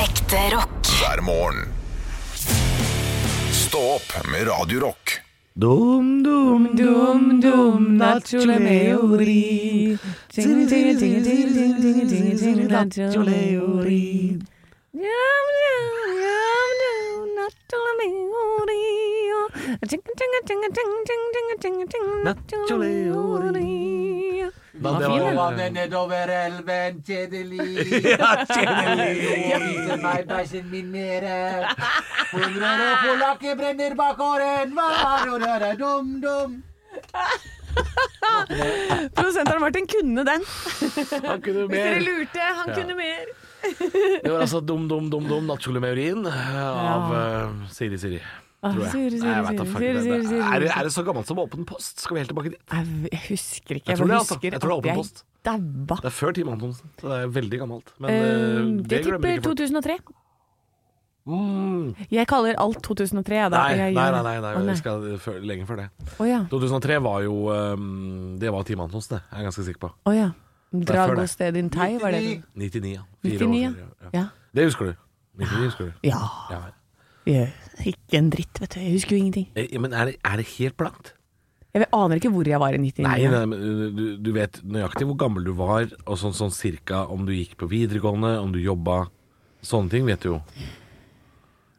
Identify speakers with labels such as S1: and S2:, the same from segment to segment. S1: Ekte rock.
S2: hver morgen. Stå opp med Radio Rock.
S3: Dum, dum,
S4: Dum, dum, nachole meori. Tingle, tingle, tingle, tingle, tingle, tingle, tingle, tingle, nachole meori. Yum, yum, yum, yum, nachole meori. Ting, ting, ting, ting, ting, ting, ting, ting, nachole meori.
S3: Det
S4: var jo-
S5: Vannet nedover elven, kjedelig. Viser meg bæsjen min nede. Hundrer og polakker brenner bak åren. Var og der er dum-dum.
S4: Produsenteren Martin kunne den.
S3: Han kunne
S4: Hvis dere
S3: mer.
S4: lurte, han kunne mer.
S3: Det var altså Dum Dum Dum Dum Nattskole med urin av eh, Siri Siri.
S4: Ah,
S3: Tror jeg.
S4: Siri,
S3: Nei, jeg
S4: Siri,
S3: vet da fuck
S4: Siri,
S3: det.
S4: Siri, Siri,
S3: Er, det-
S4: Siri.
S3: er det så gammelt som Åpen post? Skal vi helt tilbake dit?
S4: Jeg jeg husker ikke.
S3: Jeg tror
S4: bare
S3: det, altså.
S4: husker
S3: Jeg tror det er
S4: at
S3: åpen post.
S4: Daua.
S3: Det er før Team Antonsen, så det er veldig gammelt. Men
S4: Eh,
S3: eh, det
S4: Jeg
S3: glemmer
S4: tipper
S3: ikke folk.
S4: 2003.
S3: Mm.
S4: Jeg kaller alt 2003. jeg, Da.
S3: Nei, nei,
S4: Jeg gjør
S3: nei,
S4: det.
S3: nei, nei,
S4: Å,
S3: vi skal før, lenge før det.
S4: Å ja.
S3: 2003 var jo eh, Det var Team Antonsen, det. Jeg er ganske sikker på.
S4: Å ja.
S3: er før
S4: Drago
S3: det.
S4: sted in Tai, var det det?
S3: 99, ja. Fire
S4: 99, ja.
S3: år før,
S4: Ja.
S3: Det husker du. 99 husker du.
S4: ja.
S3: Ja.
S4: jeg- Ikke en dritt, vet du. Jeg husker jo ingenting.
S3: Eh, Men er det, er det helt blankt?
S4: Jeg vet- aner ikke hvor jeg var i 99.
S3: Nei, nei, men eh, du, du vet nøyaktig hvor gammel du var, og sånn, sånn cirka om du gikk på videregående, om du jobba. Sånne ting vet du jo.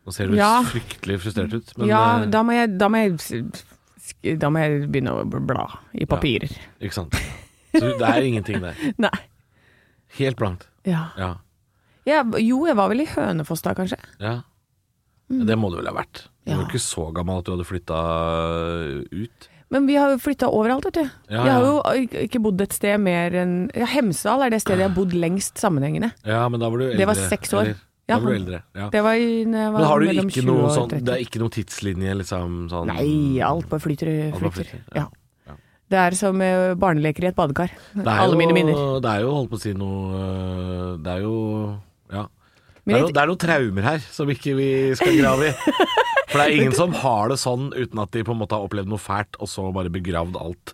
S3: Nå ser du
S4: Ja.
S3: fryktelig frustrert ut, men
S4: ja,
S3: eh,
S4: da må, jeg, da, må jeg, s- sk- da må jeg begynne å bla i papirer.
S3: Ikke sant. Så det er ingenting der.
S4: Nei.
S3: Helt blankt.
S4: Ja.
S3: Ja.
S4: Jeg- jo, jeg var vel i Hønefoss da, kanskje.
S3: ja. Ja, Det må du vel ha vært. Du var
S4: Mm. Ja.
S3: ikke så gammel at du hadde flytta ut.
S4: Men vi har jo flytta overalt, vet du.
S3: Ja,
S4: jeg
S3: ja.
S4: har jo ik- ikke bodd et sted mer enn ja, Hemsedal er det stedet jeg har bodd lengst sammenhengende.
S3: Ja, men da var du eldre.
S4: Det var seks år.
S3: eller?
S4: Ja.
S3: Da var du eldre. Ja.
S4: Det var, i- når jeg var
S3: Men har du
S4: mellom
S3: ikke
S4: 20
S3: noe
S4: og
S3: sånn
S4: 30.
S3: Det er ikke noen tidslinje, liksom? Sånn
S4: Nei, alt bare flyter. eh,
S3: Alt bare
S4: flyter.
S3: flyter, ja.
S4: Ja. Det er som eh, barneleker i et badekar.
S3: Det er
S4: Alle
S3: jo-
S4: mine minner.
S3: Det er jo, holdt på å si, noe øh, Det er jo Ja. Det
S4: Men
S3: er, no,
S4: jeg-
S3: det er noen traumer her som ikke vi skal grave i. For det er ingen som har det sånn uten at de på en måte har opplevd noe fælt, og så bare begravd alt.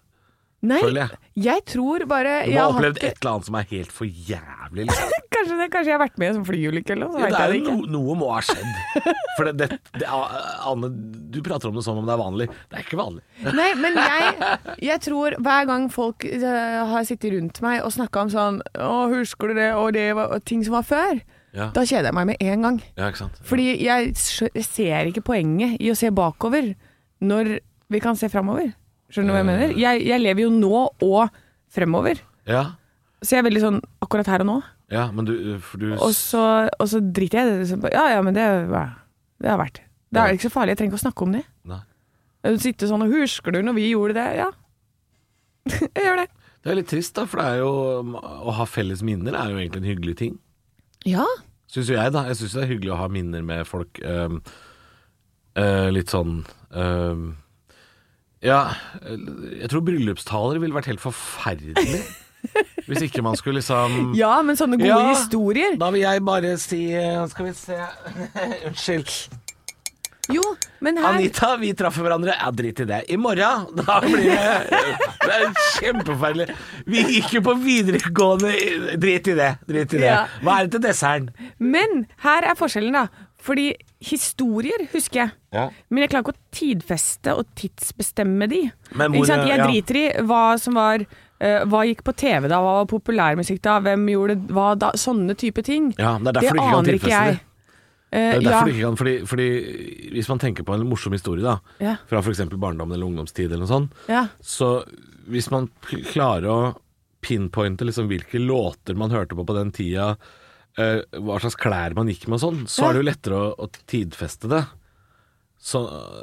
S4: Nei,
S3: Føler jeg.
S4: jeg tror bare
S3: Du
S4: jeg
S3: må ha
S4: har
S3: opplevd
S4: hatt-
S3: et eller annet som er helt for jævlig. Liksom.
S4: Kanskje, det, kanskje jeg har vært med i en sånn flyulykke eller noe, så
S3: Ja,
S4: vet
S3: det er
S4: jeg det
S3: jo
S4: ikke.
S3: no, noe må ha skjedd. For det, det, det, Anne, du prater om det som om det er vanlig. Det er ikke vanlig.
S4: Nei, men jeg, jeg tror hver gang folk eh, har sittet rundt meg og snakka om sånn Å, husker du det, og det var og ting som var før,
S3: Ja,
S4: da kjeder jeg meg med en gang.
S3: ja ikke sant?
S4: Fordi jeg skjø- jeg ser ikke poenget i å se bakover når vi kan se framover. Skjønner du hva jeg mener? Jeg, jeg lever jo nå og fremover.
S3: Ja,
S4: Så jeg er veldig sånn akkurat her og nå.
S3: ja men du, for du
S4: Og så, og så driter jeg i det. Så bare, Ja ja, men det, er- det har vært. Det er ikke så farlig. Jeg trenger ikke å snakke om det.
S3: Nei.
S4: Sitte sånn og Husker du når vi gjorde det? Ja. jeg gjør det.
S3: Det er litt trist, da, for det er jo Å ha felles minner er jo egentlig en hyggelig ting.
S4: Ja.
S3: Syns jo jeg, da. Jeg syns det er hyggelig å ha minner med folk. øhm, øh, litt sånn øhm, Ja, øh, jeg tror bryllupstaler ville vært helt forferdelig. hvis ikke man skulle liksom
S4: ja, men sånne gode
S3: Ja.
S4: historier.
S3: Da vil jeg bare si øh, Skal vi se Unnskyld.
S4: Jo, men her
S3: Anita, vi traff hverandre. Ja, drit i det. I morgen, da blir det Det er kjempeforferdelig. Vi gikk jo på videregående i- Drit i det. Drit i det.
S4: Ja.
S3: Hva er det til desserten?
S4: Men her er forskjellen, da. Fordi historier husker jeg.
S3: Ja.
S4: Men jeg klarer ikke å tidfeste og tidsbestemme de.
S3: Men hvor-
S4: ikke sant? Jeg
S3: ja.
S4: driter i hva som var eh, Hva gikk på TV da, hva var populærmusikk da, hvem gjorde hva da? Sånne type ting.
S3: Ja, men det er derfor du ikke kan
S4: aner
S3: tilfeste det.
S4: jeg.
S3: Det er jo
S4: Eh,
S3: derfor
S4: ja.
S3: du ikke kan, fordi, fordi hvis man tenker på en morsom historie da,
S4: Ja.
S3: fra f.eks. barndommen eller ungdomstid eller noe sånt,
S4: Ja.
S3: så hvis man k- klarer å pinpointe liksom hvilke låter man hørte på på den tida, eh, hva slags klær man gikk med og sånn, så
S4: Ja.
S3: er det jo lettere å, å tidfeste det. Så,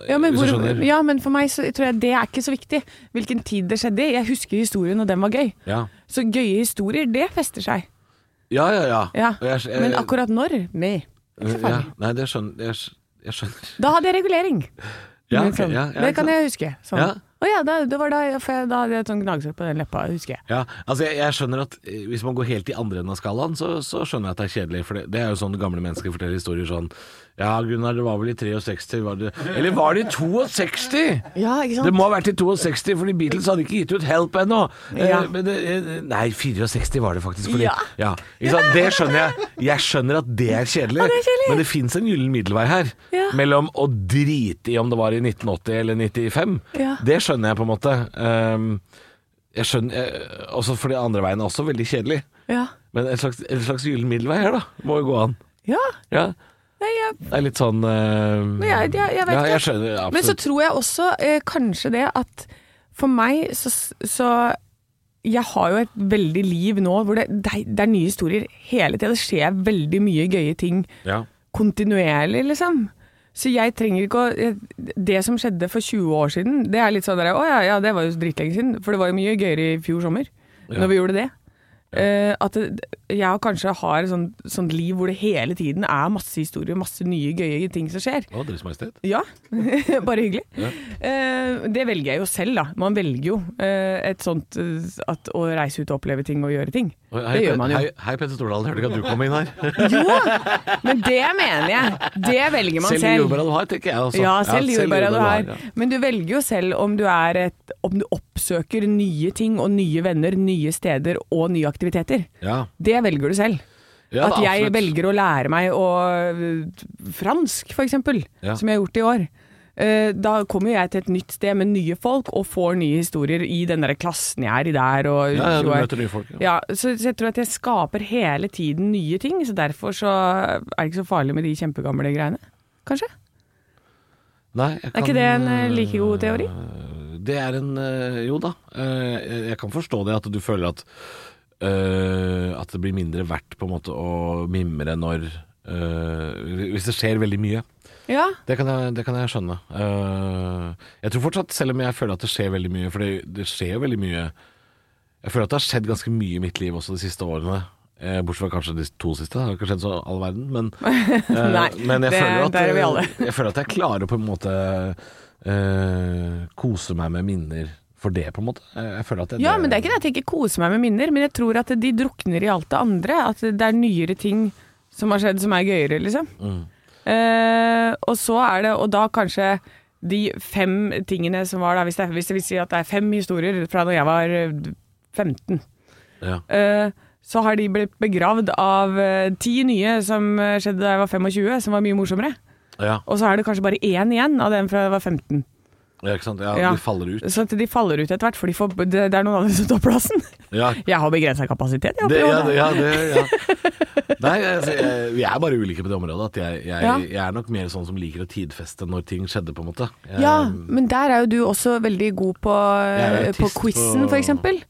S4: Ja men,
S3: hvis du
S4: hvor,
S3: skjønner.
S4: ja, men for meg så tror jeg det er ikke så viktig hvilken tid det skjedde i. Jeg husker historien, og den var gøy.
S3: Ja.
S4: Så gøye historier, det fester seg.
S3: Ja, ja, ja.
S4: Ja.
S3: Og jeg- jeg-
S4: Men akkurat når? Med.
S3: ja, Nei, det skjønner jeg. skj- Jeg skjønner.
S4: Da hadde jeg regulering.
S3: Ja,
S4: Men
S3: ok,
S4: sånn,
S3: ja, ja,
S4: det
S3: ikke
S4: kan
S3: sant.
S4: jeg huske. Sånn.
S3: Ja.
S4: Å ja, da, det var da, jeg- for jeg- da hadde jeg et sånt gnagsår på den leppa, husker jeg.
S3: Ja, altså jeg, jeg skjønner at eh, Hvis man går helt i andre enden av skalaen, så, så skjønner jeg at det er kjedelig. For det, det er jo sånn gamle mennesker forteller historier sånn Ja, Gunnar, det var vel i 63 var det, Eller var det i 62?
S4: Ja, ikke sant?
S3: Det må ha vært i 62, fordi Beatles hadde ikke gitt ut Help ennå. Eh,
S4: Ja.
S3: men det- eh, Nei, 64 var det faktisk. Fordi,
S4: Ja.
S3: ikke sant? Det skjønner jeg. Jeg skjønner at det er kjedelig,
S4: det er kjedelig.
S3: men det fins en gyllen middelvei her.
S4: Ja.
S3: Mellom å drite i om det var i 1980 eller 95.
S4: Ja.
S3: Det skjønner jeg på en måte. Um, jeg skjønner, eh, også for det andre veien er også veldig kjedelig.
S4: Ja.
S3: Men en slags, en slags gyllen middelvei her, da. Må jo gå an.
S4: ja.
S3: Ja.
S4: Nei, jeg
S3: Det er litt sånn eh,
S4: Men jeg- jeg- jeg vet
S3: ja,
S4: ikke.
S3: jeg skjønner absolutt.
S4: Men så tror jeg også eh, kanskje det at for meg så, så Jeg har jo et veldig liv nå hvor det, det, er- det er nye historier hele tida. Det skjer veldig mye gøye ting
S3: ja.
S4: kontinuerlig, liksom. Så jeg trenger ikke å Det som skjedde for 20 år siden, det er litt sånn der Å ja, ja, det var jo dritlenge siden. For det var jo mye gøyere i fjor sommer, når vi gjorde det. Eh, at det, jeg kanskje har et sånt, sånt liv hvor det hele tiden er masse historier, masse nye gøye ting som skjer.
S3: Å, Deres Majestet.
S4: Ja, bare hyggelig. Eh, det velger jeg jo selv, da. Man velger jo eh, et sånt eh, at, å reise ut og oppleve ting og gjøre ting.
S3: Oi,
S4: det
S3: Pe-
S4: gjør man jo.
S3: Hei, hei Petter Stordalen, hørte ikke at du kom inn her.
S4: Jo, men det mener jeg. Det velger man
S3: Selv
S4: selv.
S3: de jordbæra du har, tenker jeg også.
S4: Ja, selv de jordbæra du har.
S3: ja.
S4: Men du velger jo selv om du, er et, om du oppsøker nye ting og nye venner, nye steder og nye aktiviteter.
S3: Ja.
S4: Det velger du selv.
S3: Ja,
S4: at
S3: da,
S4: jeg
S3: absolutt.
S4: velger å lære meg å, fransk, for eksempel,
S3: Ja.
S4: som jeg har gjort i år. Eh, Da kommer jeg til et nytt sted med nye folk og får nye historier i den der klassen jeg er i der. Og,
S3: Ja, ja, du
S4: og-
S3: møter nye folk, ja.
S4: Ja, så, så jeg tror at jeg skaper hele tiden nye ting, så derfor så er det ikke så farlig med de kjempegamle greiene. Kanskje?
S3: Nei, jeg
S4: Er
S3: kan-
S4: ikke det en eh, like god teori?
S3: Det er en eh, Jo da, eh, jeg kan forstå det at du føler at eh, At det blir mindre verdt på en måte å mimre når eh, Hvis det skjer veldig mye.
S4: Ja.
S3: Det kan jeg, det kan jeg skjønne. Eh, jeg tror fortsatt, selv om jeg føler at det skjer veldig mye For det, det skjer jo veldig mye Jeg føler at det har skjedd ganske mye i mitt liv også de siste årene. Eh, bortsett fra kanskje de to siste. Det har ikke skjedd så all verden, men, eh,
S4: Nei,
S3: men jeg,
S4: det-
S3: føler jo at,
S4: der er vi alle.
S3: jeg føler at jeg klarer å på en måte eh, kose meg med minner for det, på en måte. Eh, Jeg føler at jeg,
S4: ja, men det er ikke det at jeg ikke koser meg med minner, men jeg tror at de drukner i alt det andre. At det er nyere ting som har skjedd som er gøyere, liksom. Eh, og så er det, og da kanskje de fem tingene som var da, hvis det, hvis det vil si at det er fem historier fra da jeg var eh, 15,
S3: Ja.
S4: eh, så har de blitt begravd av eh, ti nye som eh, skjedde da jeg var 25, som var mye morsommere.
S3: Ja,
S4: Og så er det kanskje bare én igjen av den fra jeg var 15.
S3: ja, ikke sant. Ja,
S4: Ja.
S3: De faller ut.
S4: Så at de faller ut etter hvert, for de får, det, det er noen andre som tar plassen.
S3: Ja,
S4: Jeg har begrensa kapasitet, jeg.
S3: Det,
S4: oppi
S3: ja,
S4: hodet.
S3: det, ja, det, ja. Nei, altså, jeg, vi er bare ulike på det området. At jeg, jeg,
S4: Ja.
S3: jeg er nok mer sånn som liker å tidfeste når ting skjedde, på en måte. Eh, Jeg,
S4: ja, men der er jo du også veldig god på, eh,
S3: Jeg er jo
S4: på
S3: artist
S4: quizen,
S3: på-
S4: for eksempel.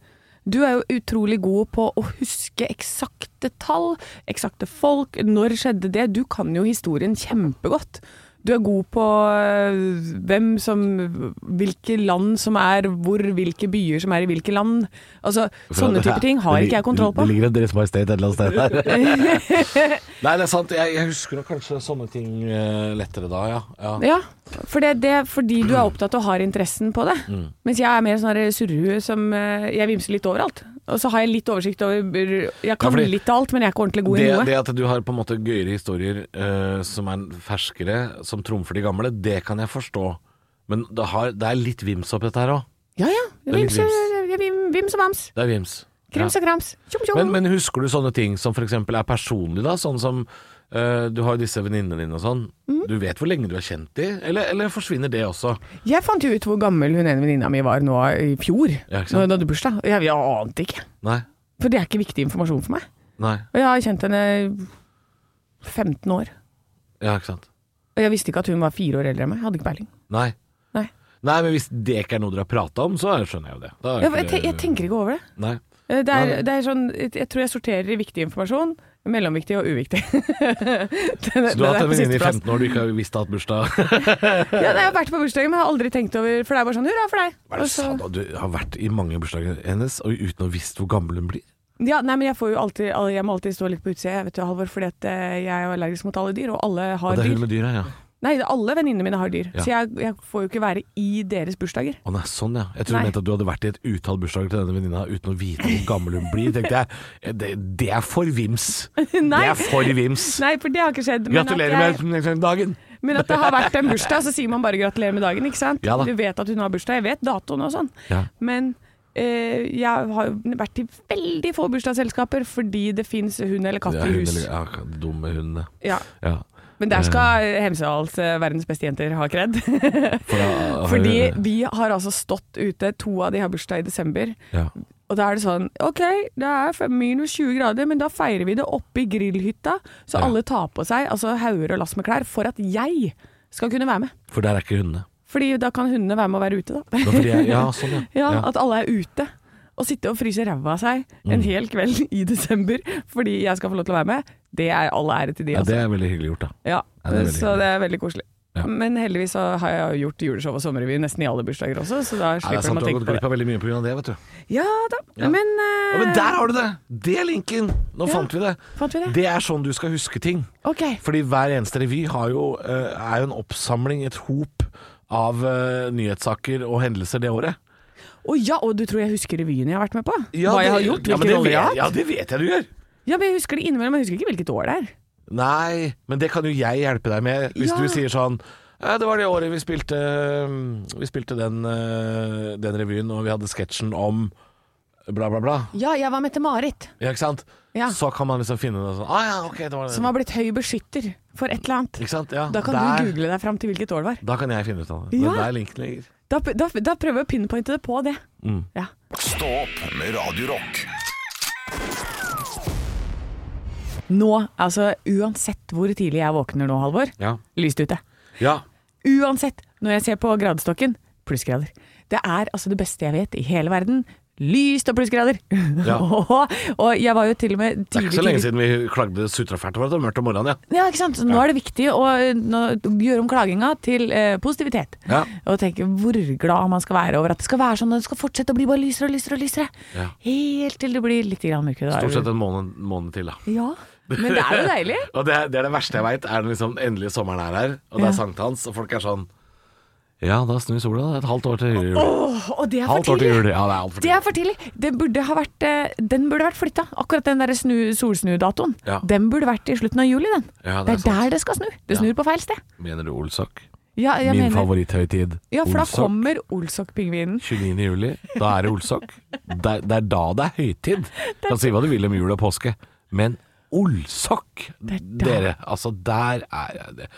S4: Du er jo utrolig god på å huske eksakte tall, eksakte folk. Når skjedde det? Du kan jo historien kjempegodt. Du er god på øh, hvem som Hvilke land som er hvor, hvilke byer som er i hvilke land. Altså, sånne type ting har ikke jeg kontroll på.
S3: Det ligger en Deres Majestet et eller annet sted der. Nei, det er sant. Jeg, jeg husker nok kanskje sånne ting eh, lettere da, ja. ja.
S4: Ja, for det, det er fordi du er opptatt og har interessen på det.
S3: Mm.
S4: Mens jeg er mer sånn her surrehue som eh, Jeg vimser litt overalt. Og så har jeg litt oversikt over
S3: Ja,
S4: Jeg kan
S3: fordi-
S4: litt av alt, men jeg er ikke ordentlig god
S3: Det,
S4: i noe.
S3: det at du har på en måte gøyere historier eh, som er ferskere, som trumfer de gamle, det kan jeg forstå. Men det, har, det er litt vims opp dette her òg.
S4: Ja ja.
S3: er
S4: Jeg
S3: litt
S4: vimser, jeg vim, vims og vams.
S3: Det er vims. Ja.
S4: Krims og krams. Tjom tjom.
S3: Men, men husker du sånne ting som f.eks. er personlig, da? Sånn som eh, du har jo disse venninnene dine og sånn.
S4: Mm.
S3: Du vet hvor lenge du har kjent de, eller, eller forsvinner det også?
S4: Jeg fant jo ut hvor gammel hun ene venninna mi var nå i fjor,
S3: Ja, ikke sant?
S4: når hun hadde bursdag. Og Jeg, jeg ante ikke.
S3: Nei.
S4: For det er ikke viktig informasjon for meg.
S3: Nei.
S4: Og jeg har kjent henne i 15 år.
S3: Ja, ikke sant.
S4: Og jeg visste ikke at hun var fire år eldre enn meg. Jeg hadde ikke peiling.
S3: Nei.
S4: Nei.
S3: Nei, men hvis det ikke er noe dere har prata om, så skjønner jeg jo det. Da er
S4: Jeg,
S3: ikke
S4: jeg, te- jeg tenker ikke over det.
S3: Nei.
S4: Eh, Det
S3: Nei,
S4: er,
S3: nei.
S4: det er sånn, jeg jeg tror jeg sorterer i viktig informasjon, mellomviktig og uviktig. Den-
S3: Så du har
S4: den
S3: hatt
S4: er
S3: en venninne
S4: på
S3: i
S4: sisteplass.
S3: 15 år du ikke har visst har hatt bursdag?
S4: Ja, nei, jeg har vært på bursdagen, men jeg har aldri tenkt over For det er bare sånn hurra for deg.
S3: Hva er
S4: Og
S3: det du sa
S4: så-
S3: da? Du har vært i mange bursdager hennes og uten å visst hvor gammel hun blir?
S4: Ja, nei, men jeg, får jo alltid, al- jeg må alltid stå litt på utsida, jeg vet du, Halvor, fordi at eh, jeg er allergisk mot alle dyr, og alle har
S3: Og det er
S4: dyr.
S3: hun med dyra, ja.
S4: Nei, alle venninnene mine har dyr,
S3: Ja.
S4: så jeg, jeg får jo ikke være i deres bursdager.
S3: Å nei, sånn ja. Jeg tror
S4: Nei.
S3: du mente at du hadde vært i et utall bursdager til denne venninna uten å vite hvor gammel hun blir. tenkte jeg, Eh, Det, det er for vims. Det
S4: Nei.
S3: er for vims.
S4: Nei, for det har ikke skjedd. men at
S3: Gratulerer
S4: jeg-
S3: med dagen.
S4: Men at det har vært en bursdag, så sier man bare gratulerer med dagen, ikke sant?
S3: Ja da.
S4: Du vet at hun har bursdag, jeg vet datoen og sånn.
S3: Ja.
S4: Men eh, jeg har jo vært i veldig få bursdagsselskaper fordi det fins hund eller katt
S3: Ja,
S4: i
S3: hun,
S4: hus.
S3: eller, ja, dumme hundene.
S4: Ja.
S3: Ja.
S4: Men der skal Hemsedals eh, verdens beste jenter ha kred.
S3: For da-
S4: Fordi vi har altså stått ute, to av de har bursdag i desember.
S3: ja.
S4: Og da er det sånn OK, det er fem- minus 20 grader, men da feirer vi det oppe i grillhytta. Så
S3: Ja.
S4: alle tar på seg altså hauger og lass med klær for at jeg skal kunne være med.
S3: For der er ikke hundene.
S4: Fordi da kan hundene være med å være ute, da.
S3: Det var fordi jeg- Ja, sånn ja.
S4: Ja,
S3: Ja. Mm.
S4: At alle er ute. Å sitte og fryse ræva av seg en hel kveld i desember fordi jeg skal få lov til å være med, det er all ære til de.
S3: ja,
S4: Altså.
S3: det er veldig hyggelig gjort, da.
S4: Ja,
S3: Ja, det er veldig
S4: så det er veldig koselig.
S3: Ja.
S4: Men heldigvis så har jeg jo gjort juleshow og sommerrevy nesten i alle bursdager også, så da
S3: Ja, det er
S4: slipper
S3: sant,
S4: man
S3: du har
S4: å tenke
S3: gått
S4: på
S3: glipp
S4: det.
S3: av veldig mye pga. det, vet du.
S4: Ja da,
S3: Ja.
S4: men,
S3: Ja, men
S4: eh,
S3: der har du det! Det er linken! Nå
S4: Ja.
S3: fant vi det.
S4: Fant vi det?
S3: Det er sånn du skal huske ting.
S4: OK.
S3: Fordi hver eneste revy har jo, eh, er jo en oppsamling, et hop, av eh, nyhetssaker og hendelser det året.
S4: Å ja, og du tror jeg husker revyen jeg har vært med på? Hva jeg har gjort?
S3: ja, men
S4: Hvilken
S3: det
S4: rolle jeg
S3: vet,
S4: har hatt?
S3: ja, det vet jeg du gjør.
S4: Ja, men jeg husker det innimellom, jeg husker ikke hvilket år det er.
S3: Nei, men det kan jo jeg hjelpe deg med hvis
S4: Ja.
S3: du sier sånn «Eh, det var det året vi spilte, mm, vi spilte den, eh, den revyen, og vi hadde sketsjen om bla, bla, bla.
S4: Ja, jeg var Mette-Marit,
S3: Ja, ikke sant?
S4: Ja.
S3: Så kan man liksom finne det sånn. Ah, ja, ok, det var det.
S4: som har blitt høy beskytter for et eller annet.
S3: Ikke sant? Ja,
S4: Da kan
S3: der,
S4: du google deg fram til hvilket år det var.
S3: Da kan jeg finne ut av det. Det
S4: Ja.
S3: er der linken ligger.
S4: Da, da, da prøver jeg å pinpointe det på det.
S3: Mm.
S4: Ja.
S2: Stå opp med Radio Rock.
S4: Nå, altså uansett hvor tidlig jeg våkner nå, Halvor,
S3: Ja.
S4: lyst ute.
S3: ja.
S4: Uansett når jeg ser på gradestokken, plussgrader. Det er altså det beste jeg vet i hele verden. Lyst og plussgrader!
S3: Ja.
S4: og jeg var jo til og med tidlig
S3: Det er ikke så lenge siden vi klagde sutra fælt over at det var mørkt om morgenen, ja.
S4: Ja, ikke sant? Så Nå er det viktig å eh, nå- gjøre om klaginga til eh, positivitet.
S3: Ja.
S4: Og tenke hvor glad man skal være over at det skal være sånn, og det skal fortsette å bli bare lysere og lysere. og lysere.
S3: Ja.
S4: Helt til det blir litt grann mørkere. da er
S3: Stort
S4: det-
S3: sett en måned, måned til, da.
S4: Ja, men det er jo deilig.
S3: Og det, er- det er det verste jeg veit, er den liksom endelige sommeren er her, og det
S4: Ja.
S3: er sankthans, og folk er sånn Ja, da snur sola. Det er Et halvt år til jul.
S4: Åh, og det er
S3: halvt
S4: for
S3: år til
S4: tidlig.
S3: jul. Ja, det er altfor
S4: Det er for tidlig. Den burde ha vært, eh, den burde vært flytta. Akkurat den der snu, solsnudatoen.
S3: Ja.
S4: Den burde vært i slutten av juli, den.
S3: Ja, det
S4: det er,
S3: er sant.
S4: der det skal snu. Det snur på feil sted.
S3: Mener du Olsok?
S4: Ja, jeg
S3: Min
S4: mener-
S3: favoritthøytid.
S4: Ja, for da
S3: Olsok.
S4: kommer Olsok-pingvinen.
S3: 29. juli, da er det Olsok. Det, er- det er da det er høytid. Du kan si hva du vil om jul og påske, men Olsok,
S4: Det er da.
S3: dere. Altså, der er jeg det.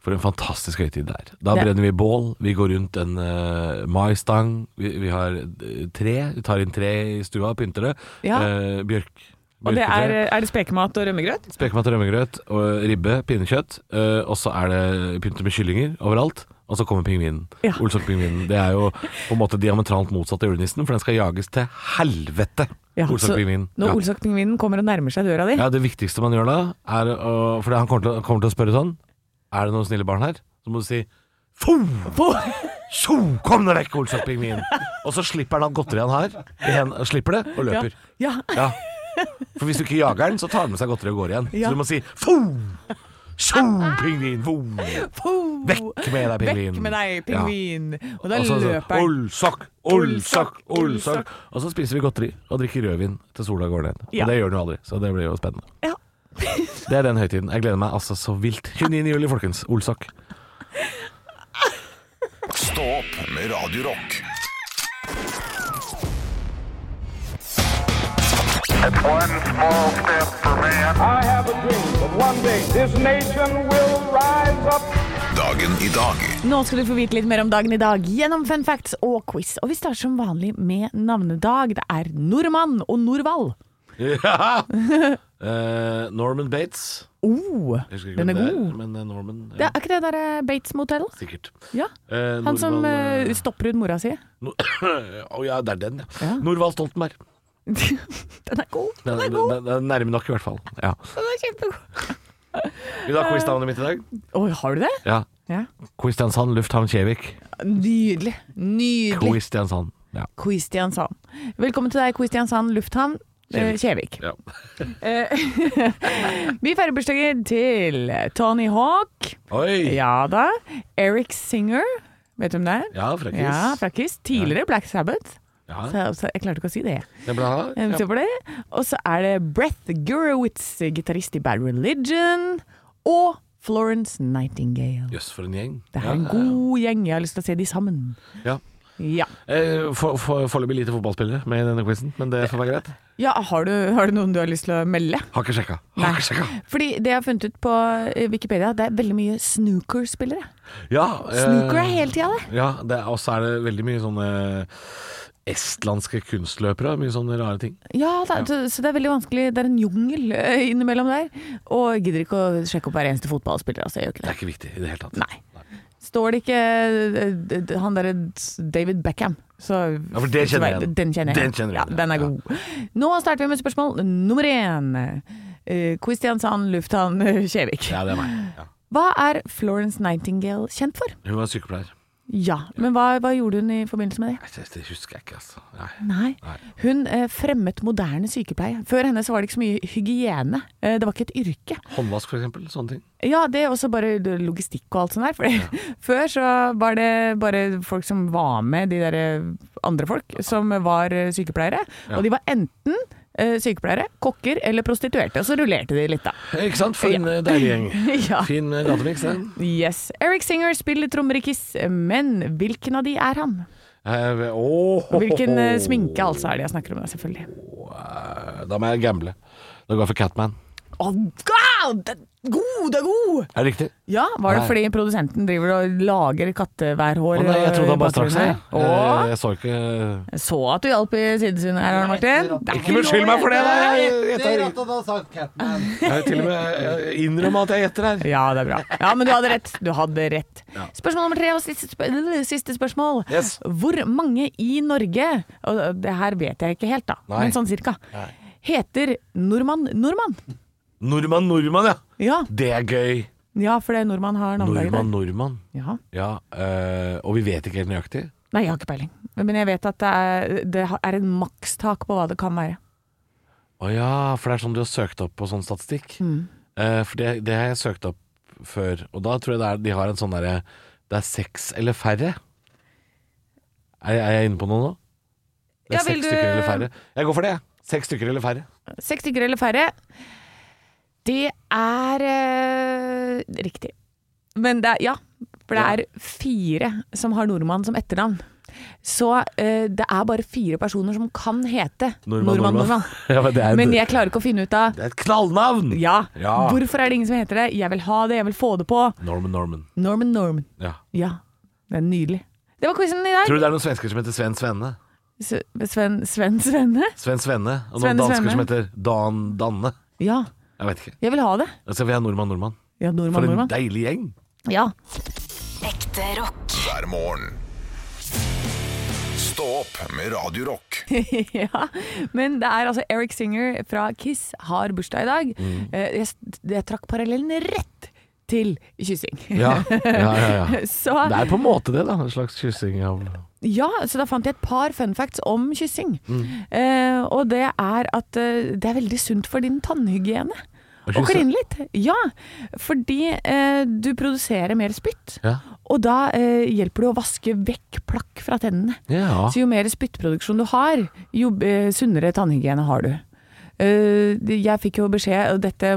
S3: For en fantastisk høytid det er. Da
S4: Det-
S3: brenner vi bål, vi går rundt en eh, maistang, vi, vi har eh, tre, vi tar inn tre i stua, pynter det.
S4: Ja.
S3: Eh, bjørk.
S4: Og det
S3: bjørketre.
S4: er, er det spekemat og rømmegrøt?
S3: Spekemat og rømmegrøt og ribbe, pinnekjøtt. eh, og så er det pyntet med kyllinger overalt. Og så kommer pingvinen.
S4: Ja.
S3: Olsok-pingvinen. Det er jo på en måte diametralt motsatt av julenissen, for den skal jages til helvete.
S4: Ja, så
S3: Olsok-pingvinen.
S4: Når
S3: ja.
S4: Olsok-pingvinen kommer og nærmer seg døra di
S3: ja, det viktigste man gjør da, er å For han kommer til, å- kommer til å spørre sånn Er det noen snille barn her? Så må du si Fo! Tjo! Kom deg vekk, Olsok-pingvin! Og så slipper han alt godteriet han har, i hendene- slipper det, og løper.
S4: Ja.
S3: Ja. For hvis du ikke jager den, så tar den med seg godteri og går igjen.
S4: Ja.
S3: Så du må si fo! Tjo, pingvin! Fo!
S4: Puh!
S3: Vekk med deg, pingvin!
S4: Vekk med deg, pingvin! Og da
S3: Og så- så-
S4: løper han.
S3: Olsok, olsok, olsok. Og så spiser vi godteri og drikker rødvin til sola går ned.
S4: Ja.
S3: Og det gjør den jo aldri, så det blir jo spennende.
S4: Ja.
S3: Det er den høytiden. Jeg gleder meg altså så vilt. 29. juli, folkens. Olsok.
S2: Stå opp med Radio Rock.
S1: One small step for man.
S6: I have a dream that one day this nation will rise up.
S2: Dagen i dag
S4: Nå skal du få vite litt mer om dagen i dag gjennom fun facts og quiz. Og vi starter som vanlig med navnedag. Det er nordmann og Norvald.
S3: Ja. Eh, Norman Bates.
S4: Oh,
S3: Jeg husker ikke
S4: den er
S3: hvem det
S4: god.
S3: Men eh, Norman
S4: Det
S3: ja,
S4: er ikke det derre Bates Motel?
S3: Sikkert.
S4: Ja.
S3: Eh,
S4: Han som
S3: Norvald,
S4: eh, stopper ut mora si.
S3: No Å ja, det er den, ja.
S4: Ja.
S3: Norvald Stoltenberg.
S4: Den er god.
S3: Den,
S4: Den er
S3: den,
S4: god.
S3: den er nærme nok, i hvert fall. Ja.
S4: Den er kjempegod.
S3: Vil du ha quiznavnet mitt i dag?
S4: Oi, har du det?
S3: Ja.
S4: Ja.
S3: Kristiansand lufthavn Kjevik.
S4: Nydelig. Nydelig.
S3: Kristiansand. Ja.
S4: Kristiansand. Velkommen til deg, Kristiansand lufthavn. Eh, Kjevik.
S3: Ja.
S4: Eh, Vi feirer bursdagen til Tony Hawk.
S3: Oi! Ja,
S4: Ja da. Eric Singer. Vet du hvem det er?
S3: frekkis.
S4: Ja, frakkis. Tidligere Black Sabbath.
S3: Ja,
S4: Så, så jeg klarte ikke å si det.
S3: det er bra.
S4: Eh, Se på det. Og så er det Breth Gurewitz, gitarist i Bad Religion. Og Florence Nightingale.
S3: Jøss, for en gjeng.
S4: Det er
S3: Ja,
S4: en
S3: ja,
S4: god gjeng. Jeg har lyst til å se de sammen.
S3: Ja.
S4: Ja.
S3: Eh, for- for- Foreløpig lite fotballspillere med i denne quizen, men det får være greit.
S4: ja har, du, har du noen du har lyst til å melde?
S3: Har ikke sjekka.
S4: Nei.
S3: Har ikke sjekka.
S4: Fordi det jeg har funnet ut på eh, Wikipedia, det er veldig mye snooker-spillere.
S3: Ja, eh,
S4: Snooker er hele tida, det.
S3: Ja, det er- og så er det veldig mye sånne estlandske kunstløpere. Mye sånne rare ting.
S4: Ja, det, er- Så, så det er veldig vanskelig. Det er en jungel eh, innimellom der. Og jeg gidder ikke å sjekke opp hver eneste fotballspiller. Altså, jeg gjør ikke
S3: Det
S4: det.
S3: er ikke viktig i det hele tatt.
S4: Nei. Står det ikke eh, d- d- han derre David Beckham, så
S3: Ja, for det kjenner jeg igjen.
S4: Den kjenner jeg.
S3: Den kjenner du
S4: ja,
S3: igjen,
S4: den er
S3: ja.
S4: god. Nå starter vi med spørsmål nummer én. Eh, Kristiansand lufthavn eh, Kjevik.
S3: Ja, det er meg. Ja.
S4: Hva er Florence Nightingale kjent for?
S3: Hun var sykepleier.
S4: Ja, men hva, hva gjorde hun i forbindelse med det?
S3: Nei, Det, det husker jeg ikke, altså. Nei.
S4: Nei. Hun eh, fremmet moderne sykepleie. Før henne så var det ikke så mye hygiene. Eh, det var ikke et yrke.
S3: Håndvask, for eksempel. Sånne ting.
S4: Ja, det er også bare logistikk og alt sånt der. For før så var det bare folk som var med, de der eh, andre folk, som var eh, sykepleiere. Og de var enten eh, sykepleiere, kokker eller prostituerte. Og så rullerte de litt, da.
S3: Ikke sant? For en eh, deilig gjeng.
S4: ja. Mm.
S3: Fin eh, gatemiks, den.
S4: Yes. Eric Singer spiller trommer i Kiss, men hvilken av de er han?
S3: Eh, åh, ho, ho,
S4: Hvilken eh,
S3: ho.
S4: sminke altså er det jeg snakker om, da, selvfølgelig.
S3: Eh, Da må jeg gamble. Da går jeg for Catman.
S4: Å, god! Det er god, det er god!
S3: Er det riktig?
S4: Ja, var det
S3: Nei.
S4: fordi produsenten driver og lager katteværhår?
S3: Å, nei, jeg trodde han bare
S4: på
S3: strakk seg.
S4: trommer? Å,
S3: Eh, Jeg så ikke
S4: jeg så at du hjalp i sidesynet her, Arne Martin. Det er
S3: Ikke beskyld meg for det, da! Jeg
S5: Etter
S3: gjetter.
S5: at han har sagt Catman.
S3: Jeg har til og med jeg innrømmer at jeg gjetter her.
S4: Ja, det er bra. Ja, men du hadde rett. Du hadde rett. Spørsmål nummer tre og siste, sp- siste spørsmål.
S3: Yes.
S4: Hvor mange i Norge, og det her vet jeg ikke helt da,
S3: Nei.
S4: men sånn cirka, heter nordmann nordmann?
S3: Nordmann, nordmann, ja.
S4: Ja,
S3: Det er gøy.
S4: ja for det nordmann har navnedag i
S3: Nordmann,
S4: dag.
S3: nordmann.
S4: Ja.
S3: Ja, eh, og vi vet ikke helt nøyaktig.
S4: Nei, jeg har ikke peiling. Men jeg vet at det er, det er en makstak på hva det kan være.
S3: Å ja, for det er sånn du har søkt opp på sånn statistikk.
S4: Mm.
S3: Eh, for det, det har jeg søkt opp før, og da tror jeg det er, de har en sånn derre Det er seks eller færre. Er, jeg- er jeg inne på noe nå? Det er
S4: Ja, vil
S3: seks
S4: du-
S3: stykker eller færre. Jeg går for det, jeg. Seks stykker eller færre.
S4: Seks stykker eller færre. Det er eh, riktig. Men det er ja. For det er fire som har nordmann som etternavn. Så eh, det er bare fire personer som kan hete nordmann, nordmann.
S3: ja, men det, er,
S4: Men jeg klarer ikke å finne ut av
S3: det er et knallnavn!
S4: ja,
S3: Ja.
S4: hvorfor er det ingen som heter det? Jeg vil ha det, jeg vil få det på.
S3: Norman Norman.
S4: Norman Norman.
S3: Ja.
S4: Ja, det er nydelig. Det var quizen i dag.
S3: Tror du det er noen svensker som heter Sven Svenne?
S4: S- Sven, Sven Svenne?
S3: Sven Svenne. Og noen
S4: Svenne
S3: dansker
S4: Svenne.
S3: som heter Dan Danne.
S4: Ja,
S3: Jeg vet ikke.
S4: jeg vil ha det.
S3: Altså, vi er nordmann, nordmann.
S4: Ja,
S3: For
S4: nordmann,
S3: en
S4: nordmann.
S3: deilig gjeng.
S4: Ja.
S7: Ekte rock.
S2: hver morgen. Stå opp med Radio Rock.
S4: ja, men det er altså Eric Singer fra Kiss har bursdag i dag.
S3: Mm.
S4: Eh, Jeg, jeg trakk parallellen rett til kyssing.
S3: Ja, ja, ja, ja.
S4: Så,
S3: Det er på en måte det, da. En slags kyssing av
S4: ja, så da fant jeg et par fun facts om kyssing.
S3: Mm.
S4: Eh, og det er at eh, det er veldig sunt for din tannhygiene.
S3: Å
S4: Å
S3: kysse?
S4: kline litt. Ja, fordi eh, du produserer mer spytt.
S3: Ja.
S4: Og da eh, hjelper det å vaske vekk plakk fra tennene.
S3: Ja.
S4: Så jo mer spyttproduksjon du har, jo eh, sunnere tannhygiene har du. Eh, jeg fikk jo beskjed og dette,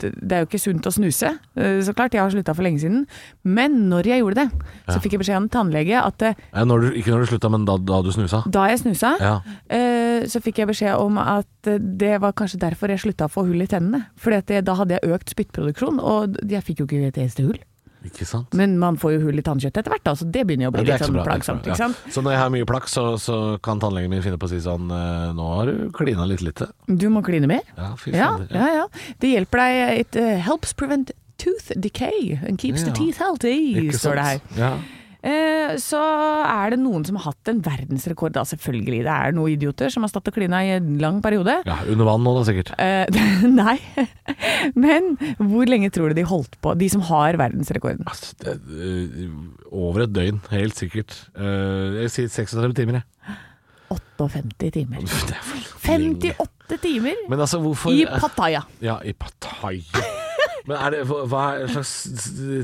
S4: Det er jo ikke sunt å snuse, eh, så klart. Jeg har slutta for lenge siden. Men når jeg gjorde det, så fikk jeg beskjed av en tannlege at eh,
S3: Ja, når du, ikke når du slutta, men da, da du snusa.
S4: da jeg snusa,
S3: Ja.
S4: eh, så fikk jeg beskjed om at eh, det var kanskje derfor jeg slutta å få hull i tennene. For da hadde jeg økt spyttproduksjon, og d- jeg fikk jo ikke et eneste hull.
S3: Ikke sant?
S4: Men man får jo hull i tannkjøttet etter hvert, da, så det begynner jo å
S3: Ja,
S4: bli
S3: det er
S4: litt
S3: ikke så
S4: sånn
S3: bra, det er ikke så bra,
S4: plagsomt. Ikke
S3: ja.
S4: sant?
S3: Så når jeg har mye plakk, så, så kan tannlegen min finne på å si sånn eh, Nå har du klina litt lite.
S4: Du må kline mer.
S3: Ja, fy
S4: Ja,
S3: fader.
S4: ja, ja. Det hjelper deg. It uh, helps prevent tooth decay and keeps
S3: Ja.
S4: the teeth healthy,
S3: Ikke sant?
S4: står det her.
S3: Ja.
S4: Eh, så er det noen som har hatt en verdensrekord, da selvfølgelig. Det er noen idioter som har stått og klina i en lang periode.
S3: ja, under vann nå da, sikkert.
S4: Eh, nei. Men hvor lenge tror du de holdt på, de som har verdensrekorden?
S3: Altså, det, eh, over et døgn, helt sikkert. Eh, jeg sier 36 timer, jeg.
S4: 58 timer.
S3: Det er for lenge.
S4: 58 timer
S3: Men altså, hvorfor
S4: i Pattaya.
S3: Ja, i Pattaya. Men er det, hva- hva er- slags